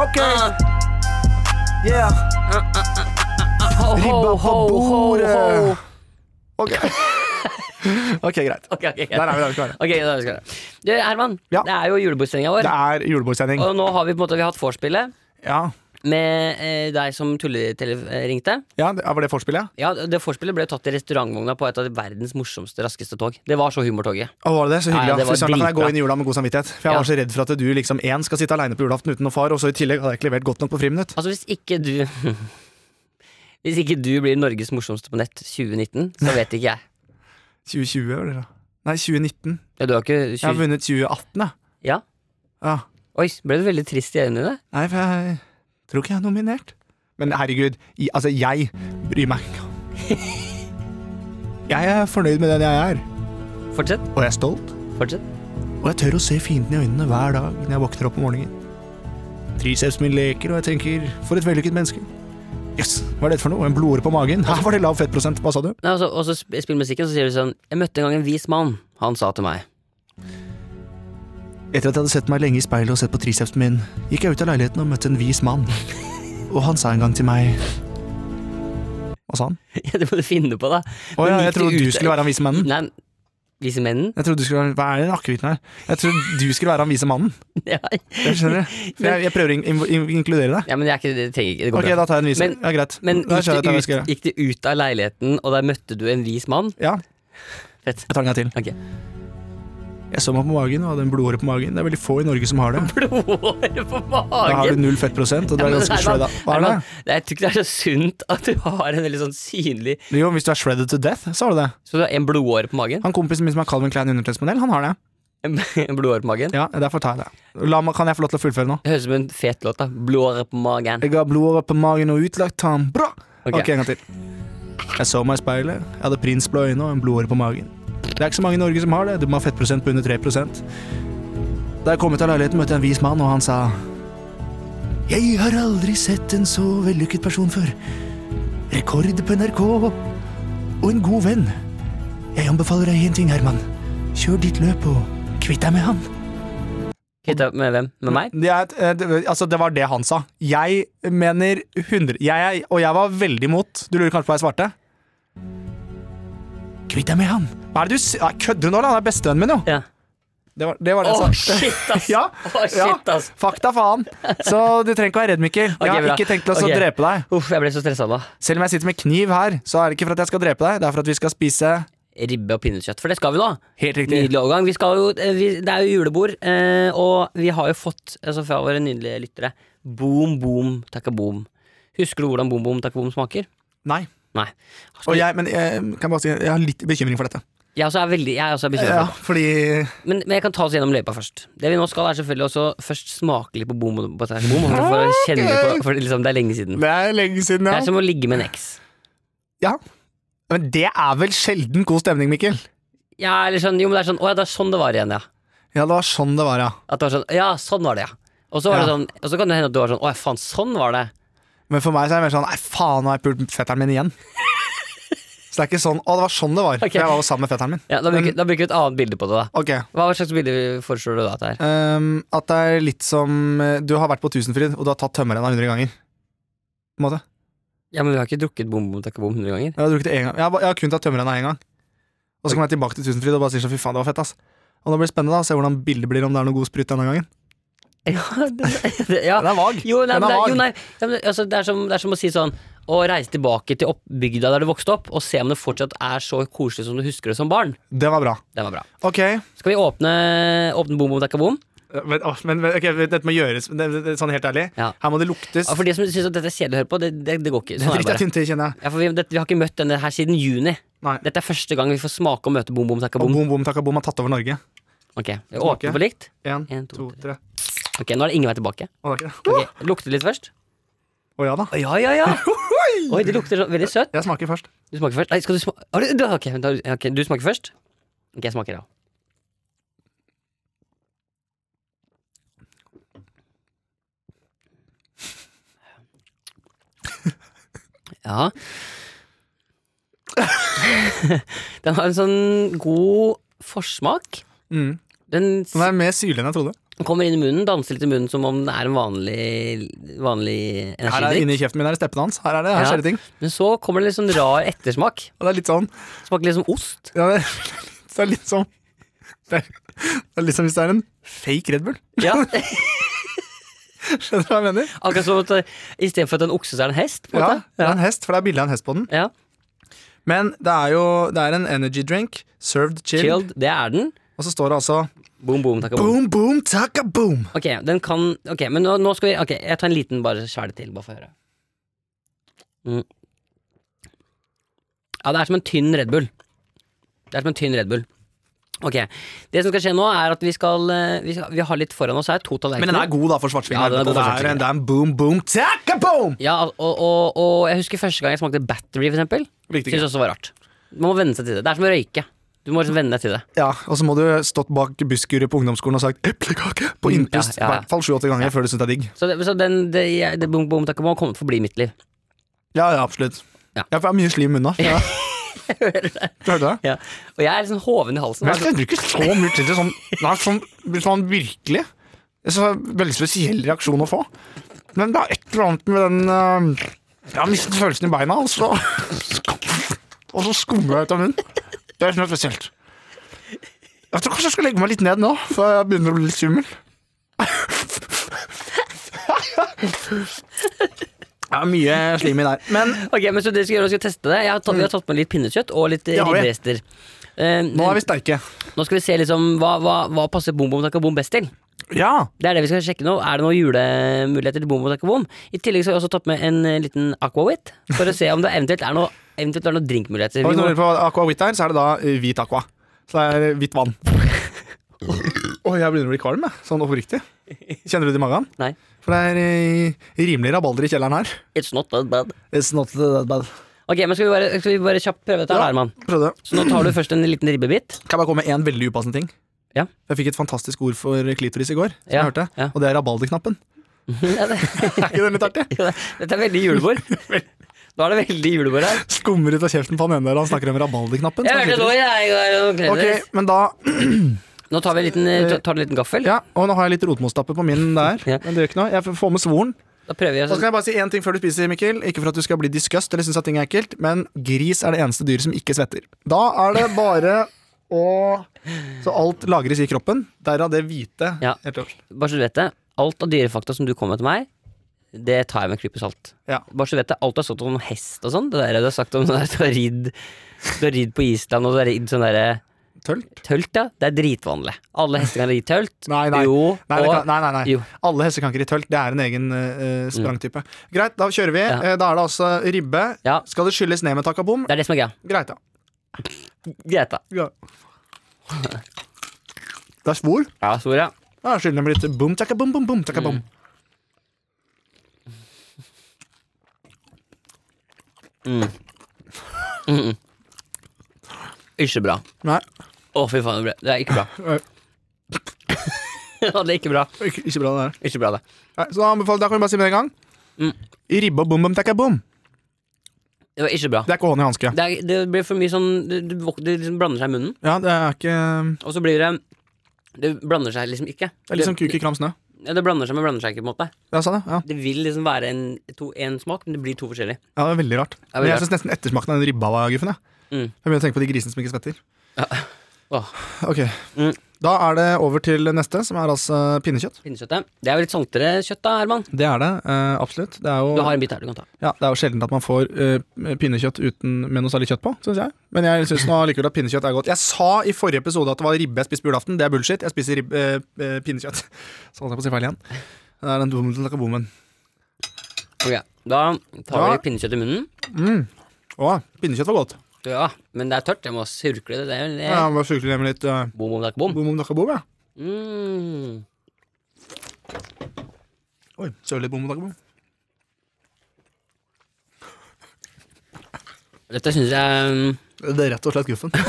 OK. Ah. Yeah. Ho, ho, Ribba på ho, ho, ho. bordet. OK. ok, Greit. Ok, ok, ok. Der er vi der vi skal være. Ok, da skal vi. Du, Herman, Ja. det er jo julebordsendinga vår. Det er julebordsending. Og nå har vi på en måte vi har hatt vorspielet. Ja. med eh, deg som eh, tulleringte. Ja, det- Var det forspillet? Ja, det forspillet ble tatt i restaurantvogna på et av verdens morsomste, raskeste tog. Det var så humortoget. Å, var det det? Så hyggelig. Ja, Ja, det var for søren, da kan jeg gå dritbra. inn i jula med god samvittighet. For jeg Ja. var så redd for at du liksom én skal sitte aleine på julaften uten noen far, og så i tillegg hadde jeg ikke levert godt nok på friminutt. Altså, hvis ikke du Hvis ikke du blir Norges morsomste på nett 2019, så vet ikke jeg. 2020, var det da? Nei, 2019. Ja, du har ikke Jeg har 20... vunnet 2018, jeg. Ja? Ja. Oi, ble du veldig trist i øynene? Nei, for jeg tror ikke jeg er nominert. Men herregud, i, altså, jeg bryr meg ikke. Jeg er fornøyd med den jeg er, Fortsett. og jeg er stolt. Fortsett. Og jeg tør å se fienden i øynene hver dag når jeg våkner opp om morgenen. Tricepsen min leker, og jeg tenker for et vellykket menneske. Jøss, yes, hva er dette for noe? En blodåre på magen? Her var det lav fettprosent, hva sa du? Nei, og så- og så sp- spill musikken, så sier du sånn Jeg møtte en gang en vis mann. Han sa til meg Etter at jeg hadde sett meg lenge i speilet og sett på tricepsen min, gikk jeg ut av leiligheten og møtte en vis mann. Og han sa en gang til meg Hva sa han? Ja, det må du finne på, da. Å ja, Men jeg gikk trodde det du ut- skulle være han vise mannen. Nei, vise mennen? Jeg trodde du skulle være, Hva er den akevitten her? Jeg trodde du skulle være han vise mannen. Ja. Jeg skjønner det. For jeg, jeg prøver å in- in- in- inkludere deg. ja, men det er ikke det trenger ikke. Det går Ok, bra. da tar jeg en vise. Men- Ja, greit. Men Da skjønner jeg at jeg vet gikk det, hva jeg ut, skal gjøre. gikk det ut av leiligheten, og der møtte du en vis mann? Ja, Fett. jeg tar den en gang til. Ok. Jeg så meg på magen og hadde en blodåre på magen. Det er veldig få i Norge som har det. Blodåre på Da har du magen! null fettprosent, og du Ja, er men ganske Herman, shredda. Hva er det? Herman, det- Jeg tror ikke det er så sunt at du har en veldig sånn synlig Jo, hvis du er shredded to death, så har du det. Så du har en blodåre på magen? Han kompisen min som er Calvin Klein undertøysmodell, han har det. En blodåre på magen? Ja, derfor tar jeg det. La meg, kan jeg få lov til å fullføre nå? Det høres ut som en fet låt, da. Blodåre på magen. Jeg har blodårer på magen og utlagt tann. Bra! ok, Ok. en gang til. Jeg så meg i speilet. Jeg hadde prinsblå øyne og en blodåre på magen. Det er ikke så mange i Norge som har det. Du må ha fettprosent på under 3 Da jeg kom ut av leiligheten, møtte jeg en vis mann, og han sa Jeg har aldri sett en så vellykket person før. Rekord på NRK og en god venn. Jeg anbefaler deg én ting, Herman. Kjør ditt løp og kvitt deg med han. Kvitta med hvem? Med meg? Det, er, et- eh, det- altså, det var det han sa. Jeg mener 100 jeg, er- Og jeg var veldig imot. Du lurer kanskje på hva jeg svarte? Kvitt deg med han. Hva er det du s- Nei, Kødder du nå? eller? Han er bestevennen min, jo. Ja. Altså- Det var det, var det Å, jeg sa. shit, ass! Ja, Å, shit, ja. ass! Fakta faen. Så du trenger ikke være redd, Mikkel. Ok, Jeg har bra. ikke tenkt til å så Ok. drepe deg. Uff, jeg ble så stressa da. Selv om jeg sitter med kniv her, så er det ikke for at jeg skal drepe deg. Det er for at vi skal spise Ribbe og pinnekjøtt, for det skal vi nå. Helt Nydelig overgang. Vi skal jo, eh, vi, det er jo julebord, eh, og vi har jo fått altså fra våre nydelige lyttere boom, boom, takka boom. Husker du hvordan boom, boom, takka boom smaker? Nei. Nei. Og jeg, men jeg, kan jeg bare si, jeg har litt bekymring for dette. Jeg også er veldig, jeg også er bekymret. Ja, for det. fordi Men, men jeg kan ta oss gjennom løypa først. Det vi nå skal, er selvfølgelig også først smake litt på boom og på takka boom. For å kjenne på, for liksom, det er lenge siden. Det er lenge siden, Det ja. er som å ligge med en eks. Ja. Men det er vel sjelden god stemning, Mikkel? Ja, eller sånn, jo, men det er sånn, å ja, det er sånn det var igjen, ja. Ja, det var sånn det var, ja. At det var sånn, ja, sånn var det, ja. Og så, var det Ja. sånn, og så kan det hende at du var sånn, å ja, faen, sånn var det. Men for meg så er det mer sånn Nei, faen, nå har jeg pult fetteren min igjen. Så det er ikke sånn Å, det var sånn det var. Ok. For jeg var jo sammen med fetteren min. Ja, da, bruker, da bruker vi et annet bilde på det, da. Ok. Hva slags bilde foreslår du da? at det er? ehm, at det er litt som eh, Du har vært på Tusenfryd, og du har tatt tømmerrenna 100 ganger. På en måte. Ja, men Vi har ikke drukket bom bom takka bom 100 ganger. Jeg har drukket det én gang. Jeg har, ba- jeg har kun tatt tømmerrenna én gang. Og så kommer jeg tilbake til Tusenfryd og bare sier sånn fy faen, det var fett, ass. Og nå blir det spennende da, å se hvordan bildet blir, om det er noe god sprut denne gangen. Ja, det, det, ja. Den er vag. Jo, nei, Den er men det, jo, vag. nei, ja, men, altså, det, er som, det er som å si sånn Å reise tilbake til opp, bygda der du vokste opp, og se om det fortsatt er så koselig som du husker det som barn. Det var bra. Den var bra. Ok. Skal vi åpne, åpne bom bom takka bom? Men, åh, men, men ok, dette må gjøres det, det, det, sånn helt ærlig. Ja. Her må det luktes. Ja, for de som syns dette er kjedelig å høre på, det, det, det går ikke. Sånn Dritt er det jeg bare. tynte, kjenner jeg. Ja, for vi, det, vi har ikke møtt denne her siden juni. Nei. Dette er første gang vi får smake og møte bom bom takka Og bom. bom, bom, takka, bom har tatt over Norge. Ok, vi åpner på likt. Én, En, to, to, tre. Ok, Nå er det ingen vei tilbake. Å, det er ikke det. Ok, Lukte litt først. Å ja da. Å, Ja, ja, ja Oi, det lukter så, veldig søtt Jeg smaker først. Du smaker først Nei, skal du smake Har du, du, ok, vent, har du, ok, du smaker først Ok, jeg smaker da Ja Den har en sånn god forsmak Mm. Den Den er mer syrlig enn jeg trodde. kommer inn i munnen, danser litt i munnen Som om den er en vanlig, vanlig Her er energidrikk Inni kjeften min er det steppedans. Her er det, her Ja. skjer det ting. Men så kommer det litt sånn rar ettersmak Og det er litt sånn Smaker litt som ost. ja, det, er litt- det er litt sånn Det er, det er litt som hvis det er en fake Red Bull. Ja. Skjønner du hva jeg mener? Akkurat som at eh, istedenfor at en okse, så er det en hest. På en Ja, måte. det er en hest, for det er bilde av en hest på den. ja. Men det er jo det er en energy drink, served chilled, Chilled, det er den. og så står det altså Boom, boom, takka, boom. boom, boom, taka, boom. Ok, den kan Ok, men nå, nå skal vi Ok, jeg tar en liten bare skjær det til, bare for å høre. Mm. Ja, det er som en tynn Red Bull. Det er som en tynn Red Bull. Ok, Det som skal skje nå, er at vi skal eh, Vi, skal, vi har litt foran oss her. To tallerkener. Men den er god, da, for svartsvin. Ja, den er helvete. god for det, er svartsvin. en, det er en boom, boom, taka, boom! Ja, og, og, og jeg husker første gang jeg smakte Battery, for eksempel. Likte ikke. Syns også var rart. Man må venne seg til det. Det er som å røyke. Du må liksom venne deg til det. Ja, Og så må du stått bak busskuret på ungdomsskolen og sagt 'eplekake' på innpust i ja, ja. hvert fall sju-åtte ganger før du syns det er digg. Så, det, så den, det, jeg, det boom, boom, takk, må ha kommet for å bli mitt liv. Ja, ja, absolutt. Ja. Ja, for jeg har mye slim unna. Ja. Du hørte det? Og jeg liksom er litt sånn hoven i halsen. Men jeg kjenner ikke så mye til det sånn, nei, sånn, hvis man virkelig så er det en Veldig spesiell reaksjon å få. Men det er et eller annet med den eh, Jeg har mistet følelsen i beina, og så Og så skummer jeg ut av munnen. Det er noe spesielt. Jeg tror kanskje jeg skal legge meg litt ned nå, for jeg begynner å bli litt svimmel. Det er mye slim i der. Men Ok, men så det skal gjøre, vi skal teste det. Jeg har tatt, vi har tatt med litt pinnekjøtt og litt eh, Det har vi. ribberester. Eh, nå er vi sterke. nå skal vi se liksom hva, hva, hva passer bom bom takka bom best til. Ja. Det er det vi skal sjekke nå. Er det noen julemuligheter til bom bom takka bom? I tillegg så har vi også tatt med en eh, liten aquavit for å se om det eventuelt er noe Eventuelt er noen drinkmuligheter. Og Vi hvis du må- lurer på hva aqua hvit er, så er det da eh, hvit aqua. Så det er eh, hvitt vann. Oi, jeg begynner å bli kvalm, jeg. Sånn oppriktig. Kjenner du det i magen? Nei. For det er eh, rimelig rabalder i kjelleren her. It's not that bad. It's not that bad. Ok, men skal vi bare, skal vi bare kjapt prøve dette her, Ja. da, Herman? Prøv det. Så nå tar du først en liten ribbebit. Kan jeg bare komme med én veldig upassende ting? Ja. Jeg fikk et fantastisk ord for eh, klitoris i går, som Ja, jeg hørte. ja. Og det er rabalderknappen. Ja, det, Er ikke den litt artig? jo, det- dette er veldig julebord. Nå er det veldig julebord her. Skummer ut av kjeften på han ene der, han snakker om rabalderknappen. Jeg hørte det nå, jeg. jeg- jeg- Ok, men da Nå tar vi en liten, eh, ta- tar du en liten gaffel. Ja, og nå har jeg litt rotmostapper på min der. Ja. Men det gjør ikke noe. Jeg får med svoren. Da prøver vi Og så oss. kan jeg bare si én ting før du spiser, Mikkel. Ikke for at du skal bli disgust eller synes at ting er ekkelt, men gris er det eneste dyret som ikke svetter. Da er det bare å Så alt lagres i kroppen. Derav det hvite. Ja. Helt øverst. Bare så du vet det, alt av dyrefakta som du kom med til meg, det tar jeg med en klype salt. Ja. Bare så du vet det, alt du har sagt om hest og sånn, det der du har sagt om sånn der, du har ridd du har ridd på Island og du har ridd sånn derre Tølt? tølt, ja. Det er dritvanlig. Alle hester kan ri tølt. Nei, nei. Jo, Nei, det og kan, nei, nei, nei. Jo. Mm. Alle hester kan ikke i tølt. Det er en egen eh, sprangtype. Greit, da kjører vi. Ja. Eh, Da er det altså ribbe. Ja. Skal det skylles ned med takabom? Det er det som er greia. Greit, ja. Greit, da. ja. Det er svor. Ja, stor, ja. Da skyller den med litt boom, takabom, boom, boom, takabom. Mm. Ikke bra. Nei, Å, fy faen, det, ble, det er ikke bra. Ja, det er ikke bra. ikke, ikke bra det der. Ikke bra, det. Nei, så da, anbefaler, da kan vi bare si med en gang. Mm. Ribbe og bom bom takka bom. Det var ikke bra. Det er ikke hånd i hanske. Det, er, det blir for mye sånn Det, det, vok- det liksom blander seg i munnen, Ja, det er ikke og så blir det Det blander seg liksom ikke. Det er liksom kuk i kram snø. Ja, det blander seg, men blander seg ikke. på en måte Ja, sånn, ja. Det vil liksom være en, to, en smak, men det blir to forskjellige. ja, det er veldig rart. er veldig Men jeg rart. syns nesten ettersmaken av den ribba var guffen. Jeg. Mm. jeg begynner å tenke på de grisene som ikke svetter. Ja. Åh. Ok, Mm. Da er det over til neste, som er altså pinnekjøtt. Pinnekjøttet. Det er jo litt saltere kjøtt, da, Herman. Det er det, eh, absolutt. Det er, Du jo, har en bit her du kan ta. ja, det er jo sjelden at man får eh, pinnekjøtt uten, med noe særlig kjøtt på, syns jeg. Men jeg syns nå allikevel at pinnekjøtt er godt. Jeg sa i forrige episode at det var ribbe jeg spiste på julaften. Det er bullshit. Jeg spiser ribbe, eh, eh, pinnekjøtt. Så holdt jeg på å si feil igjen. Det er den bommen til takabommen. Ok, Da tar Ja. vi pinnekjøtt i munnen. Å, pinnekjøtt var godt. Ja, Men det er tørt. Jeg må surkle det. det, er- det Ja, Jeg må sykle ned med litt eh, Bom, bom, takk, bom. bom, bom, takka, bom, jeg. Mm. Oi, søv litt bom, takka, bom. Dette syns jeg um, Det er rett og slett guffen. Eh,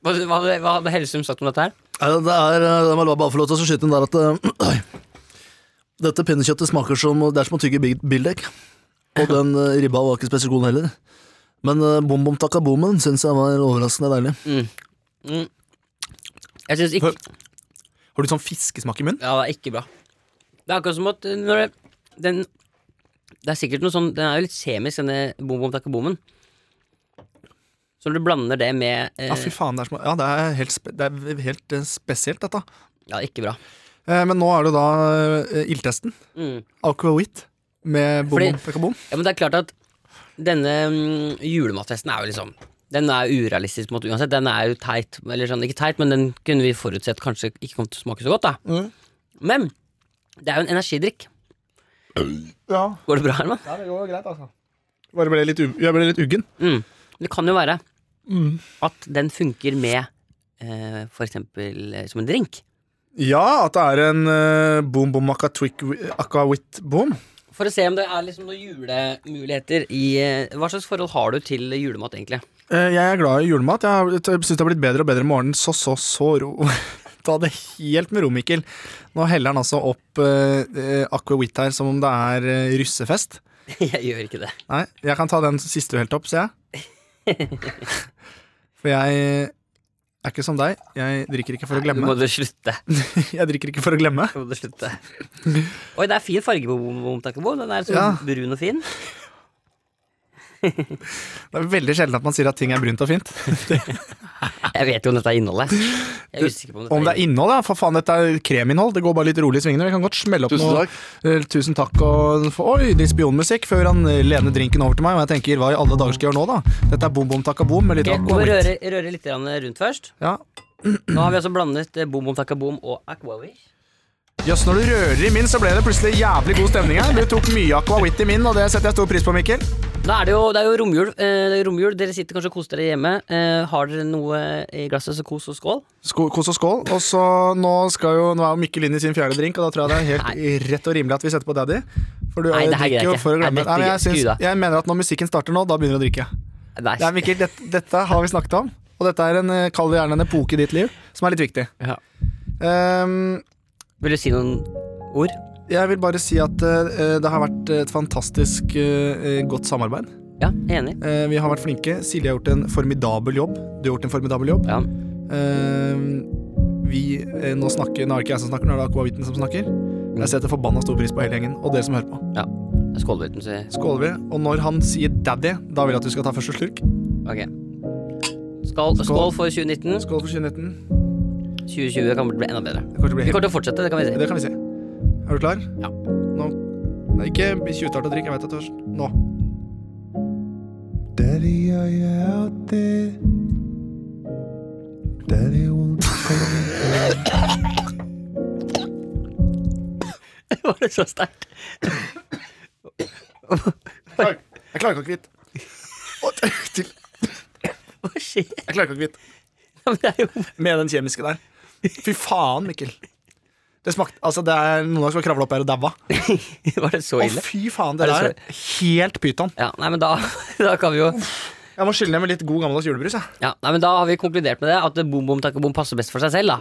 Hva, hva, hadde- hva hadde Hellesum sagt om dette her? det er, eh, jeg må la- bare få lov til å skyte inn der at eh, dette pinnekjøttet smaker som Det er som å tygge Big- bildekk. Og den eh, ribba var ikke spesielt god heller. Men eh, bom bom takka bommen syns jeg var overraskende deilig. Jeg synes ikke Har du sånn fiskesmak i munnen? Ja, det er ikke bra. Det er akkurat som at eh, når det, den Det er sikkert noe sånn Den er jo litt kjemisk, denne bom bom takka bommen. Så når du blander det med eh, Ah, Ja, fy faen, det er, som, ja, det er, helt, spe, det er helt eh, spesielt, dette. Ja, ikke bra. Eh, Men nå er det da eh, ildtesten. Mm. Aquavit med bom, Fordi- bom, pekka bom. Ja, men det er klart at denne mm, julematfesten er jo liksom den er urealistisk på en måte uansett. Den er jo teit, eller sånn, ikke teit, men den kunne vi forutsett kanskje ikke kom til å smake så godt, da. Men det er jo en energidrikk. Ja, Går det bra, Herman? det går greit, altså. Bare ble litt, u jeg ble litt uggen. Mm. Det kan jo være Mm. at den funker med eh, for eksempel eh, som en drink. Ja, at det er en eh, boom, boom, aquavit boom. For å se om det er liksom noen julemuligheter i eh, Hva slags forhold har du til julemat, egentlig? Eh, Jeg er glad i julemat. Jeg syns det har blitt bedre og bedre med morgenen. Så, så, så ro. Ta det helt med ro, Mikkel. Nå heller han altså opp uh, aquavit her som om det er eh, russefest. jeg gjør ikke det. Nei, jeg kan ta den siste du helte opp, sier jeg. For jeg er ikke som deg. Jeg drikker ikke for å Nå må glemme. du slutte. Jeg drikker ikke for å glemme. Nå må du slutte. Oi, det er fin farge på bom- bom- takebo. Den er så Ja. brun og fin. Det er veldig sjelden at man sier at ting er brunt og fint. Jeg vet jo om dette er innholdet. Jeg er usikker på om dette Om det er er innhold, ja. For faen, dette er kreminnhold. Det går bare litt rolig i svingene. Vi kan godt smelle opp Tusen noe. takk. Eh, Tusen takk. Og få- oi, litt spionmusikk før han eh, lener drinken over til meg. Og jeg tenker, hva i alle dager skal jeg gjøre nå, da? Dette er bom, bom, takka, bom med litt Ok, Vi må aquavit. røre, røre litt grann rundt først. Ja. Nå har vi altså blandet eh, bom bom takabom og aquawish. Jøss, når du rører i min, så ble det plutselig jævlig god stemning her. Du tok mye aquavit i min, og det setter jeg stor pris på, Mikkel. Da er det jo, det er jo romjul. Eh, det er romjul. Dere sitter kanskje og koser dere hjemme. Eh, har dere noe eh, i glasset, så kos og skål. Sko kos og skål. Og så nå, skal jo, nå er jo Mikkel inn i sin fjerde drink, og da tror jeg det er helt rett og rimelig at vi setter på Daddy. For du Nei, eh, det her greier drikker jo jeg ikke. for å Nei, glemme. dette Nei, men jeg, greier- Gud, da. syns, jeg mener at når musikken starter nå, da begynner du å drikke. Nei. Nei, Mikkel, dette, dette har vi snakket om, og dette er en, eh, kall det gjerne en epoke i ditt liv, som er litt viktig. Ja. Ehm, Vil du si noen ord? jeg vil bare si at eh, det har vært et fantastisk eh, godt samarbeid. Ja, jeg er enig. Eh, vi har vært flinke. Silje har gjort en formidabel jobb. Du har gjort en formidabel jobb. Ja. Ehm, vi, eh, nå, snakker, nå er det ikke jeg som snakker, nå er det Aquaviten som snakker. Jeg setter forbanna stor pris på hele gjengen og dere som hører på. ja. Jeg skåler uten, så jeg- Skåler vi. Og når han sier 'daddy', da vil jeg at du skal ta første slurk. Ok. Skål, skål for 2019. Skål for 2019. 2020 kommer til å bli enda bedre. Det kommer til å bli helt Vi kommer til å fortsette, det kan vi si. Det kan vi se. Er du klar? Ja. Nå. Nei, ikke tjuvstart og drikk, jeg vet at du er tørst. Nå. Daddy, are you out there? Daddy, won't you come? Var det så sterkt? Jeg klarer ikke å kvitte. Hva skjer? Jeg klarer ikke å kvitte. Ja, men det er jo Med den kjemiske der. Fy faen, Mikkel. Det smakte, altså det er Noen av oss som kravla opp her og daua. Å, Var det så ille? fy faen, det Er der det er helt pyton. Ja, nei, men da, da kan vi jo Jeg må skylle ned med litt god gammeldags julebrus. Jeg. Ja, nei, men da har vi konkludert med det, at bom bom takabom passer best for seg selv, da.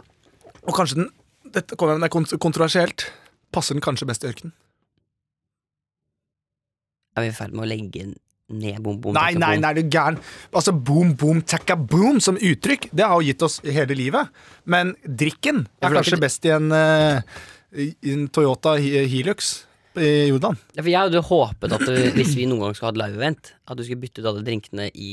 Og kanskje den Dette kommer, den er kont- kontroversielt. Passer den kanskje best i ørkenen? Er vi i ferd med å legge ned bom bom Nei, nei, nei, er du gæren. Altså, boom, boom, takka boom som uttrykk, det har jo gitt oss hele livet. Men drikken Ja, er for det er kanskje ikke- best i en, eh, i en Toyota Hi- Hilux i Jordan. Ja, for jeg hadde jo håpet at det, hvis vi noen gang skulle ha et live-event, at du skulle bytte ut alle drinkene i,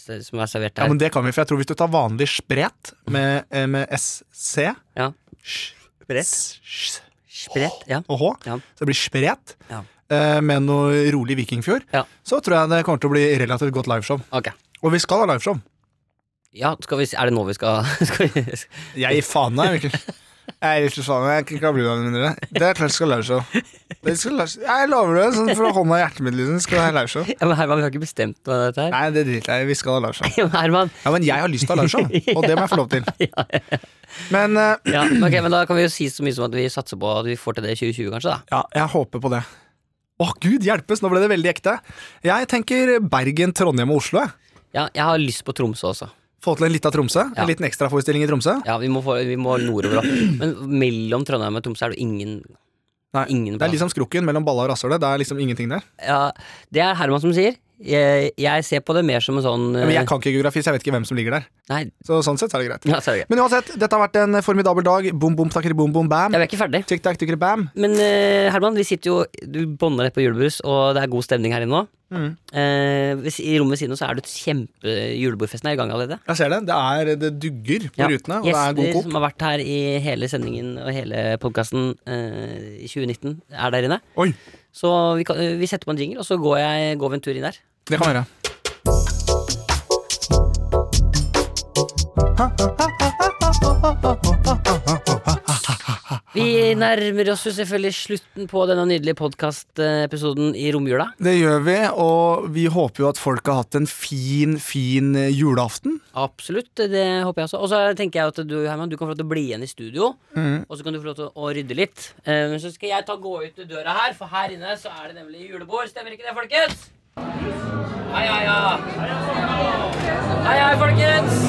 som er servert Ja, her. men det kan vi, for jeg tror hvis du tar vanlig spret med, eh, med SC Ja. sj- Spredt. sj- Spredt, ja. og H, Ja. så det blir spret, Ja. eh, med noe rolig vikingfjord, Ja. så tror jeg det kommer til å bli relativt godt liveshow. Ok. Og vi skal ha liveshow. Ja, skal vi, s- er det nå vi skal, skal vi, Jeg gir faen nei, Mikkel. Jeg gir ikke faen nei, jeg kan ikke ha bluene mine. Det er klart jeg skal ha liveshow. Det skal live- Jeg lover det, sånn fra hånda i hjertet mitt, liksom. Skal jeg ha liveshow? Ja, men Herman, vi har ikke bestemt noe av dette her. Nei, det driter jeg i. Vi skal ha liveshow. Ja, men Herman, Ja, men jeg har lyst til å ha liveshow, og det må jeg få lov til. Men eh, ja, men ok, men da kan vi jo si så mye som at vi satser på at vi får til det i 2020, kanskje, da. ja, jeg håper på det. Å, gud hjelpes, nå ble det veldig ekte. Jeg tenker Bergen, Trondheim og Oslo. jeg. Ja, jeg har lyst på Tromsø også. Få til en lita Tromsø. Ja. En liten ekstraforestilling i Tromsø. Ja, vi må, få, vi må nordover, da. Men mellom Trondheim og Tromsø er det ingen Nei, det Ingen er plass. liksom skrukken mellom balla og rasshølet. Det er liksom ingenting der. Ja, det er Herman som sier. Jeg, jeg ser på det mer som en sånn eh, Men jeg kan ikke geografi, så jeg vet ikke hvem som ligger der. Nei, Så sånn sett så er det greit. ja, sorry. Men uansett, dette har vært en formidabel dag. Bom, bom, takkeri, bom, bom, bam. Jeg er ikke ferdig. Tikk, takk, tikkeri, bam. Men eh, Herman, vi sitter jo Du bånder rett på julebrus, og det er god stemning her inne nå. Mm. Eh, hvis- I rommet ved siden av så er det et kjempe Julebordfesten er i gang allerede. Jeg ser det. Det, er, det dugger på Ja. rutene, og det er god Gjester kok. som har vært her i hele sendingen og hele podkasten i 2019, er der inne. Oi, Så vi, kan, eh, vi setter på en jingle, og så går, jeg, går vi en tur inn der. det kan være. Vi nærmer oss jo selvfølgelig slutten på denne nydelige podkastepisoden i romjula. Det gjør vi, og vi håper jo at folk har hatt en fin, fin eh, julaften. Absolutt, det håper jeg også. Og så tenker jeg at du Herman, du kan få lov til å bli igjen i studio. Og så kan du få lov til å rydde litt. Eh, Men så skal jeg ta gå ut døra her, for her inne så er det nemlig julebord. Stemmer ikke det, folkens? Hei, hei, ja. Hei, hei, folkens.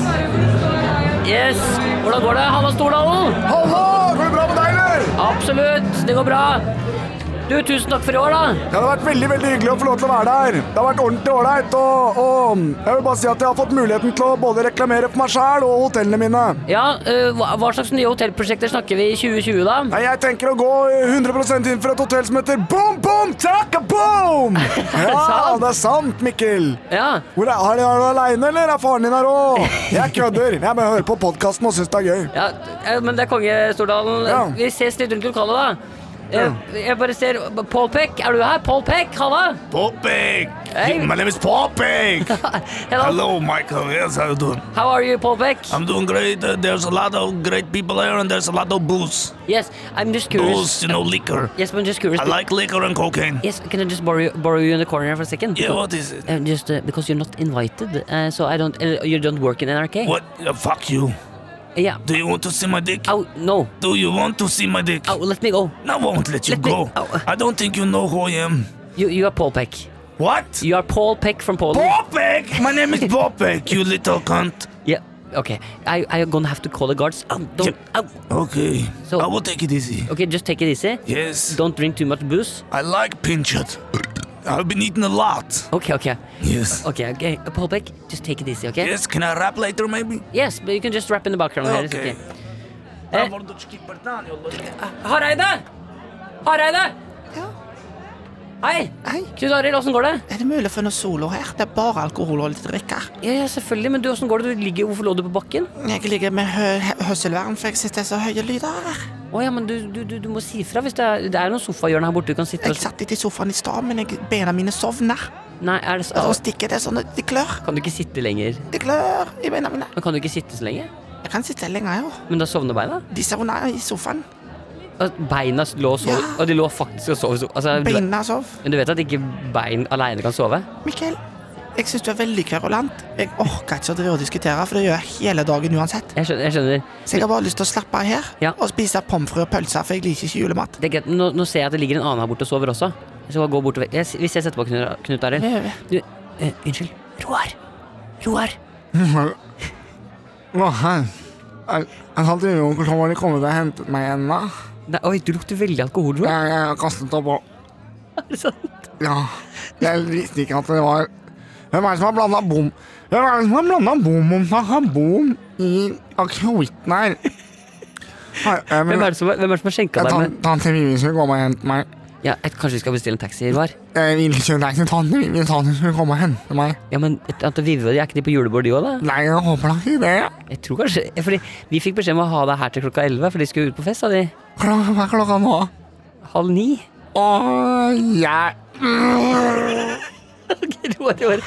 Yes. Hvordan går det, Hanna Stordalen? Hallo! Går det bra med deg, eller? Absolutt, det går bra. Du, tusen takk for i år, da. Det har vært veldig veldig hyggelig å få lov til å være der. Det har vært ordentlig ålreit. Og, og jeg vil bare si at jeg har fått muligheten til å både reklamere for meg sjæl og hotellene mine. Ja, eh, hva hva slags nye hotellprosjekter snakker vi i 2020, da? Nei, Jeg tenker å gå 100 inn for et hotell som heter Boom Boom Taka Boom! Ja, det er sant, Mikkel. Ja, Hvor er, er du aleine, eller er faren din her òg? Jeg kødder. Jeg bare hører på podkasten og syns det er gøy. ja eh, men det er konge, Stordalen. Ja. Vi ses litt rundt lokalet, da. Eh, Jeg bare ser Paul Peck, er du her? Paul Peck, halla! Popik! Hey. My name is Popik! Hello. Michael. Yes, how you doing? How are you, Paul Peck? I'm doing great. Uh, there's a lot of great people here, and there's a lot of booze. Yes, I'm just curious. Booze, you know, liquor. Yes, I'm just curious. I like liquor and cocaine. Yes, can I just borrow you, borrow you in the corner for a second? Yeah, what is it? Uh, just uh, because you're not invited, uh, so I don't. Uh, you don't work in NRK. What? Uh, fuck you. Eh, Yeah. Do you want to see my dick? Oh no. Do you want to see my dick? Oh, let me go. No, I won't let you Let me- go. Ow. I don't think you know who I am. You, you are Paul Peck. What? You are Paul Peck from Poland. Popek! My name is Popek, you little cunt. Yeah. Okay. I I gonna have to call the guards. Um, don't. Um, Okay, So- I will take it easy. okay, just take it easy. Yes, Don't drink too much booze. I like pinchet. I've been eating a lot. Okay, okay, Yes. okay, okay. Uh, Paul Peck, just take it easy, okay? Yes, can I rap later maybe? Yes, but you can just rap in the background here. It's okay. Okay. Eh, Hareide! Hareide! Hei! Hei. Knut Arild, åssen går det? Er det mulig å finne solo her? Det er bare alkohol og litt drikke. Ja, ja, selvfølgelig, men du, åssen går det? Du ligger, hvorfor lå du på bakken? Jeg ligger med hø hø- høselvern, for jeg sitter så høye lyder her. Å ja, men du, du, du, du må si ifra hvis det er, det er noen sofahjørne her borte du kan sitte Jeg og satt litt i sofaen i stad, men jeg, bena mine sovner. Nei, er det så... Og stikker det sånn at det klør. Kan du ikke sitte lenger? Det klør i beina mine. Men kan du ikke sitte så lenge? Jeg kan sitte lenge, jo. Men da sovner beina? De sovner i sofaen. At beina lå og sov, Ja. og de lå faktisk og sov. i so- Altså, du, vet- Beina sov. men du vet at ikke bein aleine kan sove? Mikkel, jeg syns du er veldig kverulant. Jeg orker ikke å drive og diskutere, for det gjør jeg hele dagen uansett. Jeg skjønner. Jeg skjønner. Så jeg har bare lyst til å slappe av her Ja. og spise pommes frites og pølser, for jeg liker ikke julemat. Det er greit, men nå, nå ser jeg at det ligger en annen her borte og sover også. Jeg skal bare gå bort og vekk. Jeg, hvis jeg setter på Knut, Knut Arild Du, eh, Unnskyld. Roar. Roar. Å, hei. Jeg jeg hadde jo onkel som hadde kommet og hentet meg ennå. Nei, oi, du lukter veldig liksom. alkohol, Roar. Jeg, jeg kastet opp og Er det sant? Ja. Jeg visste ikke at det var Hvem er det som har blanda bom Hvem er det som har blanda bom om det har bom i akevitten her? Hei, jeg vil- Hvem er det som, hvem er det som har skjenka Jeg deg tan- med Tante Vivi skulle komme og hente meg. ja, jeg, Kanskje vi skal bestille en taxi, Roar? Jeg ville ikke reise til tante Vivi, sa hun skulle komme og hente meg. Ja, men Ante Vive og de er ikke de på julebord, de òg, da? Nei, jeg håper da ikke det. Jeg tror kanskje ja, Fordi vi fikk beskjed om å ha deg her til klokka elleve, for de skulle ut på fest, sa de. Klokka, hva er klokka nå? Halv ni. Åh, jeg Ok, Roar, Roar.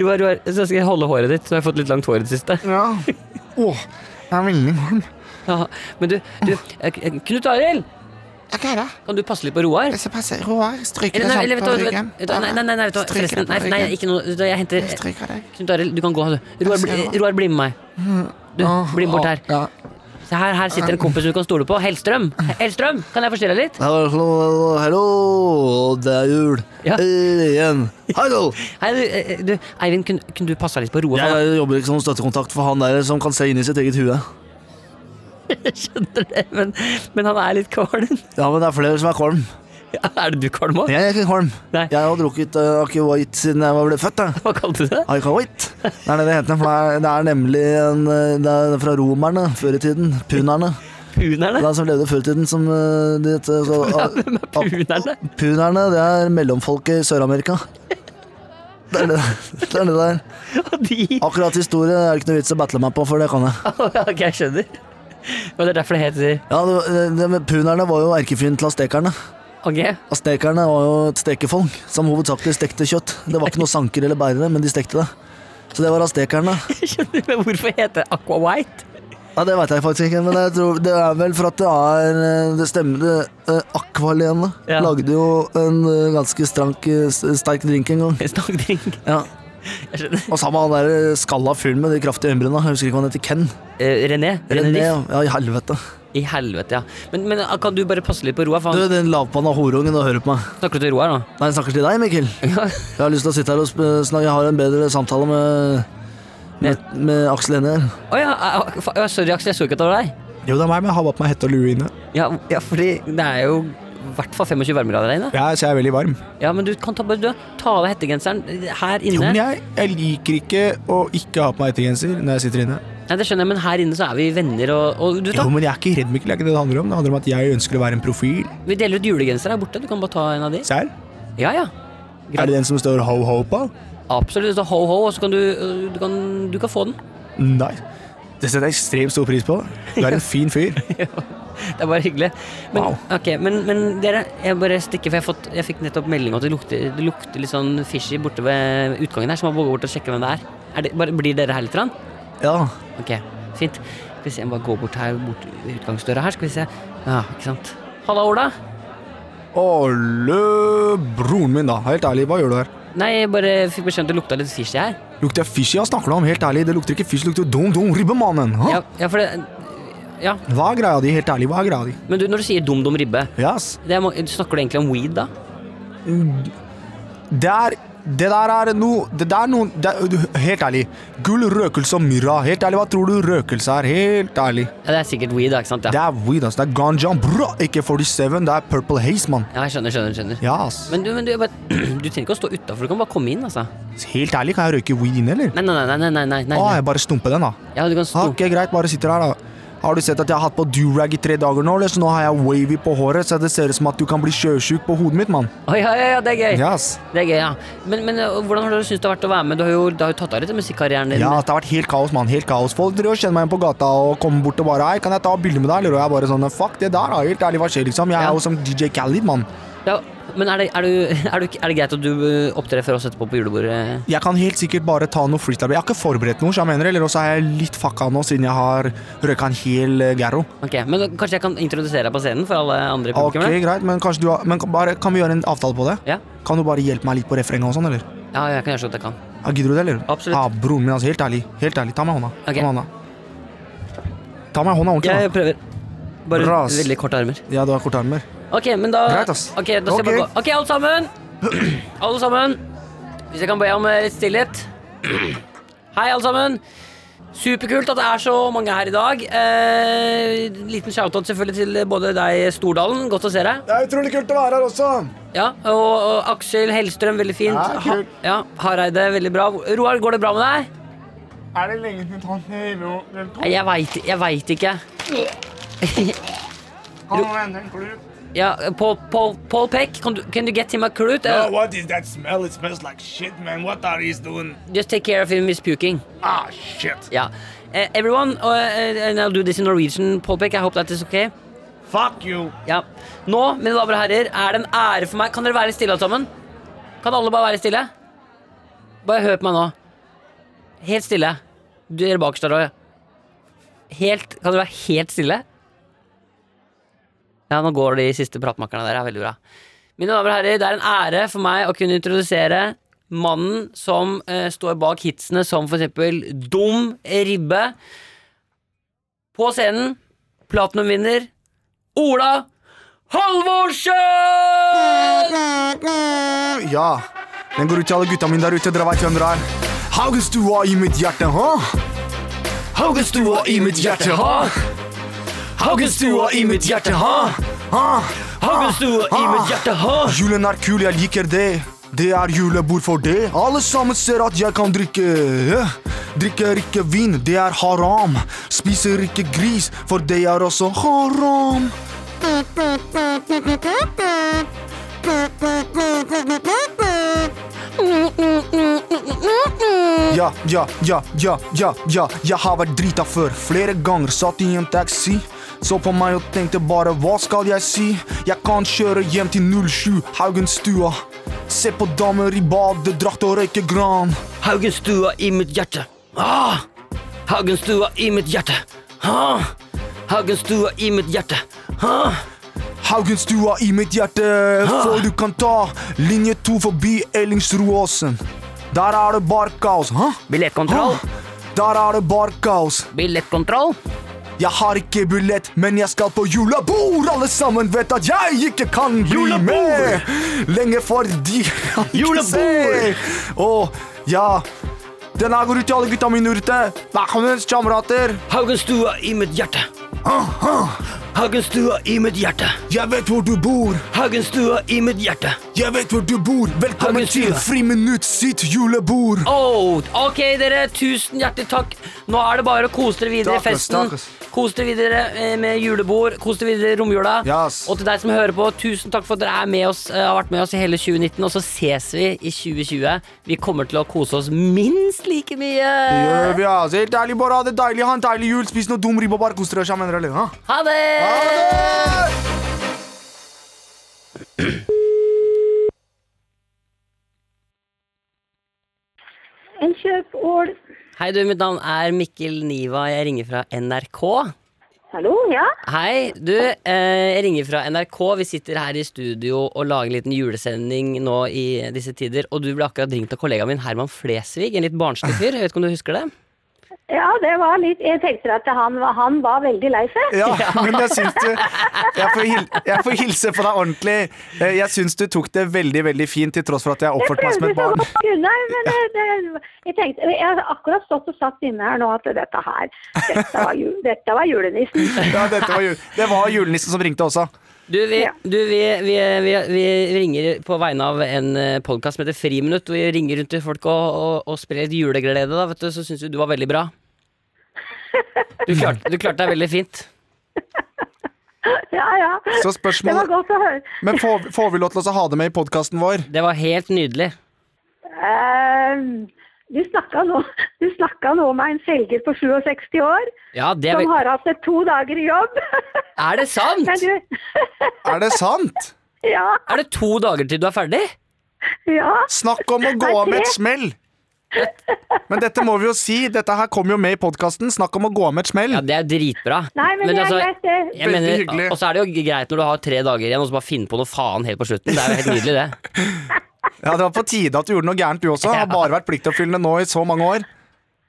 Roar, Roar. Så skal jeg holde håret ditt. Nå har jeg fått litt langt hår i det siste. Ja. Åh, jeg er veldig varm. Ja, men du, du eh, Knut Arild, Ok, da. kan du passe litt på Roar? Så passer Roar. Stryker Eller, deg nei, eller, sånn vet på du, hva, ryggen. vet du, hva, nei, nei, nei, vet du, hva, Stryker deg forresten, på nei, nei, ryggen. ikke noe vet du hva, Jeg henter Jeg stryker deg. Knut Arild, du kan gå. altså. Roar, bli, Roar. Roar, bli med meg. Du, Åh, bli bort her. Ja. Se her, her sitter en kompis som du kan stole på. Hellstrøm, Hellstrøm, kan jeg forstyrre deg litt? Hallo, eh, hallo, hallo, det er jul Ja. Eh, igjen. Hallo! Hei, du, eh, du Eivind, kunne kun du passe deg litt på Roar? Jeg jeg jobber ikke som støttekontakt for han der som kan se inn i sitt eget hue. Jeg skjønner det, men, men han er litt kvalm. Ja, men det er flere som er kvalm. Er det du, Karlmo? Jeg er ikke Holm. Nei. Jeg har drukket uh, Aki White siden jeg ble født. Da. Hva kalte du det? Aika White. Det er det det heter. For det er, det er nemlig en, eh, det er fra romerne før i tiden. Punerne. Det er Punerne? de som levde før i tiden som eh, de, så, ah, Hvem er punerne? Punerne, det er mellomfolket i Sør-Amerika. Det er det det er. Det der. Og de Akkurat historie er det ikke noe vits i å battle meg på, for det kan jeg. Ok, jeg skjønner. Og det er derfor det heter Ja, det, eh, det, men Punerne var jo erkefienden til aztekerne. Ok, Aztekerne var jo et stekefolk som hovedsakelig stekte kjøtt. Det var ikke noe sanker eller bærere, men de stekte det. Så det var aztekerne. jeg skjønner, men hvorfor heter det Aqua White? Ja, Det veit jeg faktisk ikke, men jeg tror, det er vel for at det er eh, Det stemmer. det, eh, Aqualene Ja. lagde jo en eh, ganske strank, eh, s- sterk drink en gang. Snakkdrink. Ja. Jeg skjønner. Og sammen med han der eh, skalla fyren med de kraftige øyenbryna. Jeg husker ikke hva han heter. Ken. Eh, René. René. René, Diff. ja, i helvete. I helvete, ja. Men, men ah, kan du bare passe litt på Roar? For Du, han den lavpanna horungen, og hører på meg. snakker til Roar nå. Nei, jeg snakker til deg, Mikkel. Ja. Jeg har lyst til å sitte her og sp- snakke. Jeg har en bedre samtale med, med, med Aksel Hennie her. Å ja, ah, fa- ja, sorry, Aksel, jeg så ikke at det var deg. Jo, det er meg, men jeg har bare på meg hette og lue inne. Ja, ja, fordi det er jo i hvert fall 25 varmegrader der inne. Ja, så jeg er veldig varm. Ja, men du kan ta, bare, du, ta av deg hettegenseren eh, her Jo, inne. men jeg, jeg liker ikke å ikke ha på meg hettegenser når jeg sitter inne. Nei, det skjønner jeg, men her inne så er vi venner, og, og du Jo, tar, men jeg er ikke redd, Mikkel. Det er ikke det det handler om. Det handler om at jeg ønsker å være en profil. vi deler ut julegensere her borte. Du kan bare ta en av de. Se her. Ja, ja. Er det den som står ho-ho på? Absolutt. Så ho-ho, og så kan du, eh, du kan, du kan få den. Nei. Det setter jeg ekstremt stor pris på. Du er en fin fyr. Det er bare hyggelig. Men, Wow. ok, men, men dere, jeg bare stikker, for jeg, har fått, jeg fikk nettopp melding om at det lukter, det lukter litt sånn fishy borte ved utgangen her, så man må gå bort og sjekke hvem det er. er det, bare, blir dere her litt? Rann? Ja. Ok, fint. Skal vi se, jeg må bare gå bort her, bort ved utgangsdøra her, skal vi se. Ja, ikke sant. Halla, Ola. Alle broren min, da. Helt ærlig, hva gjør du her? Nei, jeg bare fikk beskjed om at det lukta litt fishy her. Lukter jeg fishy? Hva snakker du om? Helt ærlig, det lukter ikke fish, det lukter dum-dum ribbe, mannen. Hå? Ja, ja, for det... Ja, Hva er greia di? Helt ærlig, hva er greia di? men du, når du sier dum-dum ribbe, Yes. det er, må- snakker du egentlig om weed da? Det er det der er noe Det der er noen det, er- du- Helt ærlig. Gull, røkelse og myrra. Helt ærlig, hva tror du røkelse er? Helt ærlig. Ja, det er sikkert weed da, ikke sant? Det Ja, er weed, ass. Det er ganja, bra. Ikke 47, det er purple haze, mann. ja jeg skjønner, skjønner, skjønner. Ja, ass. Men du, men du, jeg bare, du trenger ikke å stå utenfor, du kan bare komme inn, altså. Helt ærlig, kan jeg røyke weed inne, eller? Nei, nei, nei, nei, nei, nei, nei. Å, jeg bare stumper den, da. Ja, du kan stå. Ah, Ok, greit, bare sitter her da Har du sett at jeg har hatt på durag i tre dager nå, eller? Så nå har jeg wavy på håret, så det ser ut som at du kan bli sjøsjuk på hodet mitt, mann. Oi, ja, ja, ja, det er gøy. Ja, ass. Det er gøy, ja. Men, men øh, hvordan har du syntes det har vært å være med? Du har jo, du har jo tatt av litt av musikkarrieren din. Ja, ass, det har vært helt kaos, mann. Helt kaos. Folk driver og kjenner meg igjen på gata og kommer bort og bare Hei, kan jeg ta bilde med deg, eller? Og jeg bare sånn Fuck det der, da. Helt ærlig, hva skjer, liksom? Jeg Ja. er jo som DJ Khalid, mann. Ja, men er det, er, du, er, du, ikke- er det greit at du øh, opptrer for oss etterpå på julebordet? Jeg kan helt sikkert bare ta noe freestyle. Jeg har ikke forberedt noe, så jeg mener, eller? Og så er jeg litt fucka nå, siden jeg har røyka en hel eh, Garro. Ok, men øh, kanskje jeg kan introdusere deg på scenen for alle andre Ok, publikummere? greit, men kanskje du har Men kan- bare, kan vi gjøre en avtale på det? Ja. Kan du bare hjelpe meg litt på refrenget og sånn, eller? Ja, jeg kan gjøre så godt jeg kan. Ja, gidder du det, eller? Absolutt. Ja, broren min, altså. Helt ærlig. Helt ærlig. Ta meg i hånda. Ok. Ta meg i hånda. Ta meg i hånda ordentlig, Jeg prøver. Bare Bra, ass. veldig korte armer. da. Ja, du har korte armer. Ok, men da Greit, ass. Ok, da skal jeg bare Ok. gå. Ok, alle sammen! alle sammen. Hvis jeg kan be om eh, litt stillhet. Hei, alle sammen. Superkult at det er så mange her i dag. Eh, liten shoutout selvfølgelig til både deg, Stordalen. Godt å se deg. Det er utrolig kult å være her også. Ja, og, og Aksel Hellstrøm, veldig fint. Ja, kult. Ha, ja, Hareide, veldig bra. Roar, går det bra med deg? Er det lenge siden han Nei, Jeg veit jeg vet ikke. Ja, Paul, Paul, Paul Peck, can, du- can you get him a clue? Uh, Oh, what is that smell? It smells like shit, man. What are you doing? Just take care of him, he's puking. Ah, shit. Yeah. Uh, everyone, uh, uh, and I'll do this in Norwegian, Polpek, I hope that is okay. Fuck you. Ja. Nå, mine damer og herrer, er det en ære for meg Kan dere være stille alle sammen? Kan alle bare være stille? Bare hør på meg nå. Helt stille. Dere bakerst der òg. Helt Kan dere være helt stille? Ja, nå går de siste pratmakerne der. Det er veldig bra. Mine damer og herrer, det er en ære for meg å kunne introdusere mannen som eh, står bak hitsene som for eksempel Dum Ribbe. På scenen, platinumvinner Ola Halvorsen! Ja. Den går ut til alle gutta mine der ute. Dere veit hvem dere er. Haugestua i mitt hjerte, hå? Haugestua i mitt hjerte, hå? Haugestua i mitt hjerte, hå? Hå? Hagestua i mitt hjerte, ha! Julen er kul, jeg liker det. Det er julebord for det. Alle sammen ser at jeg kan drikke. ja. Drikker ikke vin, det er haram. Spiser ikke gris, for det er også haram. Ja, ja, ja, ja, ja, ja. Jeg har vært drita før. Flere ganger satt i en taxi. Så på meg og tenkte bare hva skal jeg si? Jeg kan kjøre hjem til 07 Haugenstua. Se på damer i badedrakt og røyke gran. Haugenstua i mitt hjerte. Ah! Haugenstua i mitt hjerte. Ah! Haugenstua i mitt hjerte. Ah! Haugenstua i mitt hjerte, for du kan ta linje to forbi Ellingsrudåsen. Der er det bare kaos, hæ? Billettkontroll. Ah. Der er det bare kaos. Billettkontroll. Jeg har ikke billett, men jeg skal på julebord. Alle sammen vet at jeg ikke kan bli Julebord! med. Lenge for de kan ikke Julebord! se. Å, ja. Den her går ut til alle gutta mine ute. Velkommen, kamerater. Haugenstua i mitt hjerte. Haugenstua i mitt hjerte. Jeg vet hvor du bor. Haugenstua i mitt hjerte. Jeg vet hvor du bor. Velkommen til Haugenstua. Friminutt sitt julebord. Oh, ok, dere. Tusen hjertelig takk. Nå er det bare å kose dere videre i Takk, ass, festen. takk, ass. Kos dere videre eh, med julebord. Kos dere videre i romjula. Yes. Og til deg som hører på, tusen takk for at dere er med oss, eh, har vært med oss i hele 2019. Og så ses vi i 2020. Vi kommer til å kose oss minst like mye. Gjør vi, ass. Helt ærlig, bare ha det deilig. Ha en deilig jul. Spis noe dum ribbe og bare kos dere sammen. eller, hæ? Ha det! En kjøpål. Hei, du. Mitt navn er Mikkel Niva. Jeg ringer fra NRK. Hallo, ja? Hei, du, eh, jeg ringer fra NRK. Vi sitter her i studio og lager en liten julesending nå i disse tider. Og du ble akkurat ringt av kollegaen min Herman Flesvig, en litt barnslig fyr. Jeg vet ikke om du husker det? Ja, det var litt Jeg tenkte at han, var- han var veldig lei seg. Ja, men jeg syns du jeg får, hil, jeg får hilse på deg ordentlig. Eh, Jeg syns du tok det veldig veldig fint, til tross for at jeg Jeg oppførte meg som prøvde et barn. så godt jeg kunne, men eh, det, det, jeg tenkte Jeg har akkurat stått og satt inne her nå at dette her Dette var, ju, dette var julenissen. Ja, dette var jul. Det var julenissen som ringte også. Du, vi, Ja. du, vi, vi, vi, vi ringer på vegne av en podkast som heter Friminutt. hvor Vi ringer rundt til folk og, og, og sprer litt juleglede, da, vet du. Så syns vi du var veldig bra. Du klarte, du klarte deg veldig fint. Ja, ja. Så Det var spørsmålet godt å høre. Men får, får vi lov til å ha det med i podkasten vår? Det var helt nydelig. Ehm, du snakka nå, du snakket nå med en selger på 67 år Ja, det er, som vel- har hatt to dager i jobb. er det sant? Men du, Er det sant? ja, Er det to dager til du er ferdig? ja. Snakk om å gå av med et smell! Men dette må vi jo si. Dette her kom jo med i podkasten. Snakk om å gå av med et smell. Ja, det er dritbra. Nei, men, det er altså, greit, det. Jeg Veldig mener, hyggelig. Og så er det jo greit når du har tre dager igjen, og så bare finne på noe faen helt på slutten. Det er jo helt nydelig, det. Ja, Det var på tide at du gjorde noe gærent, du også. Har bare vært pliktoppfyllende nå i så mange år.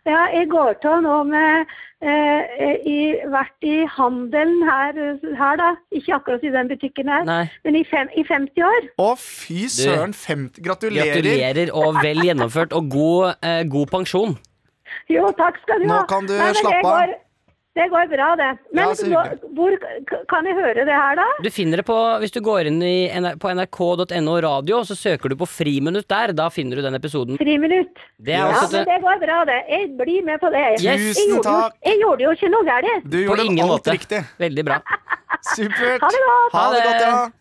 Ja, jeg går av nå med eh, i, Vært i handelen her, her, da. Ikke akkurat i den butikken her, Nei. men i, fem, i 50 år. Å, fy søren. 50 Gratulerer. Gratulerer og vel gjennomført, og god, eh, god pensjon. Jo, takk skal du Nå ha. kan du men det slappe av. går- Det går bra, det. Men Ja, så nå, hyggelig. hvor k- kan jeg høre det her, da? Du finner det på, Hvis du går inn i, N- på nrk.no radio, så søker du på Friminutt der. Da finner du den episoden. Friminutt. altså Det er Ja, også men et- det går bra, det. Jeg blir med på det. Jeg, Yes. jeg, gjorde, Tusen takk. Jo, jeg gjorde jo ikke noe galt. Du på gjorde ingen alt måte. riktig. Veldig bra. Supert. Ha det godt. Ha det Ha det. godt, ja.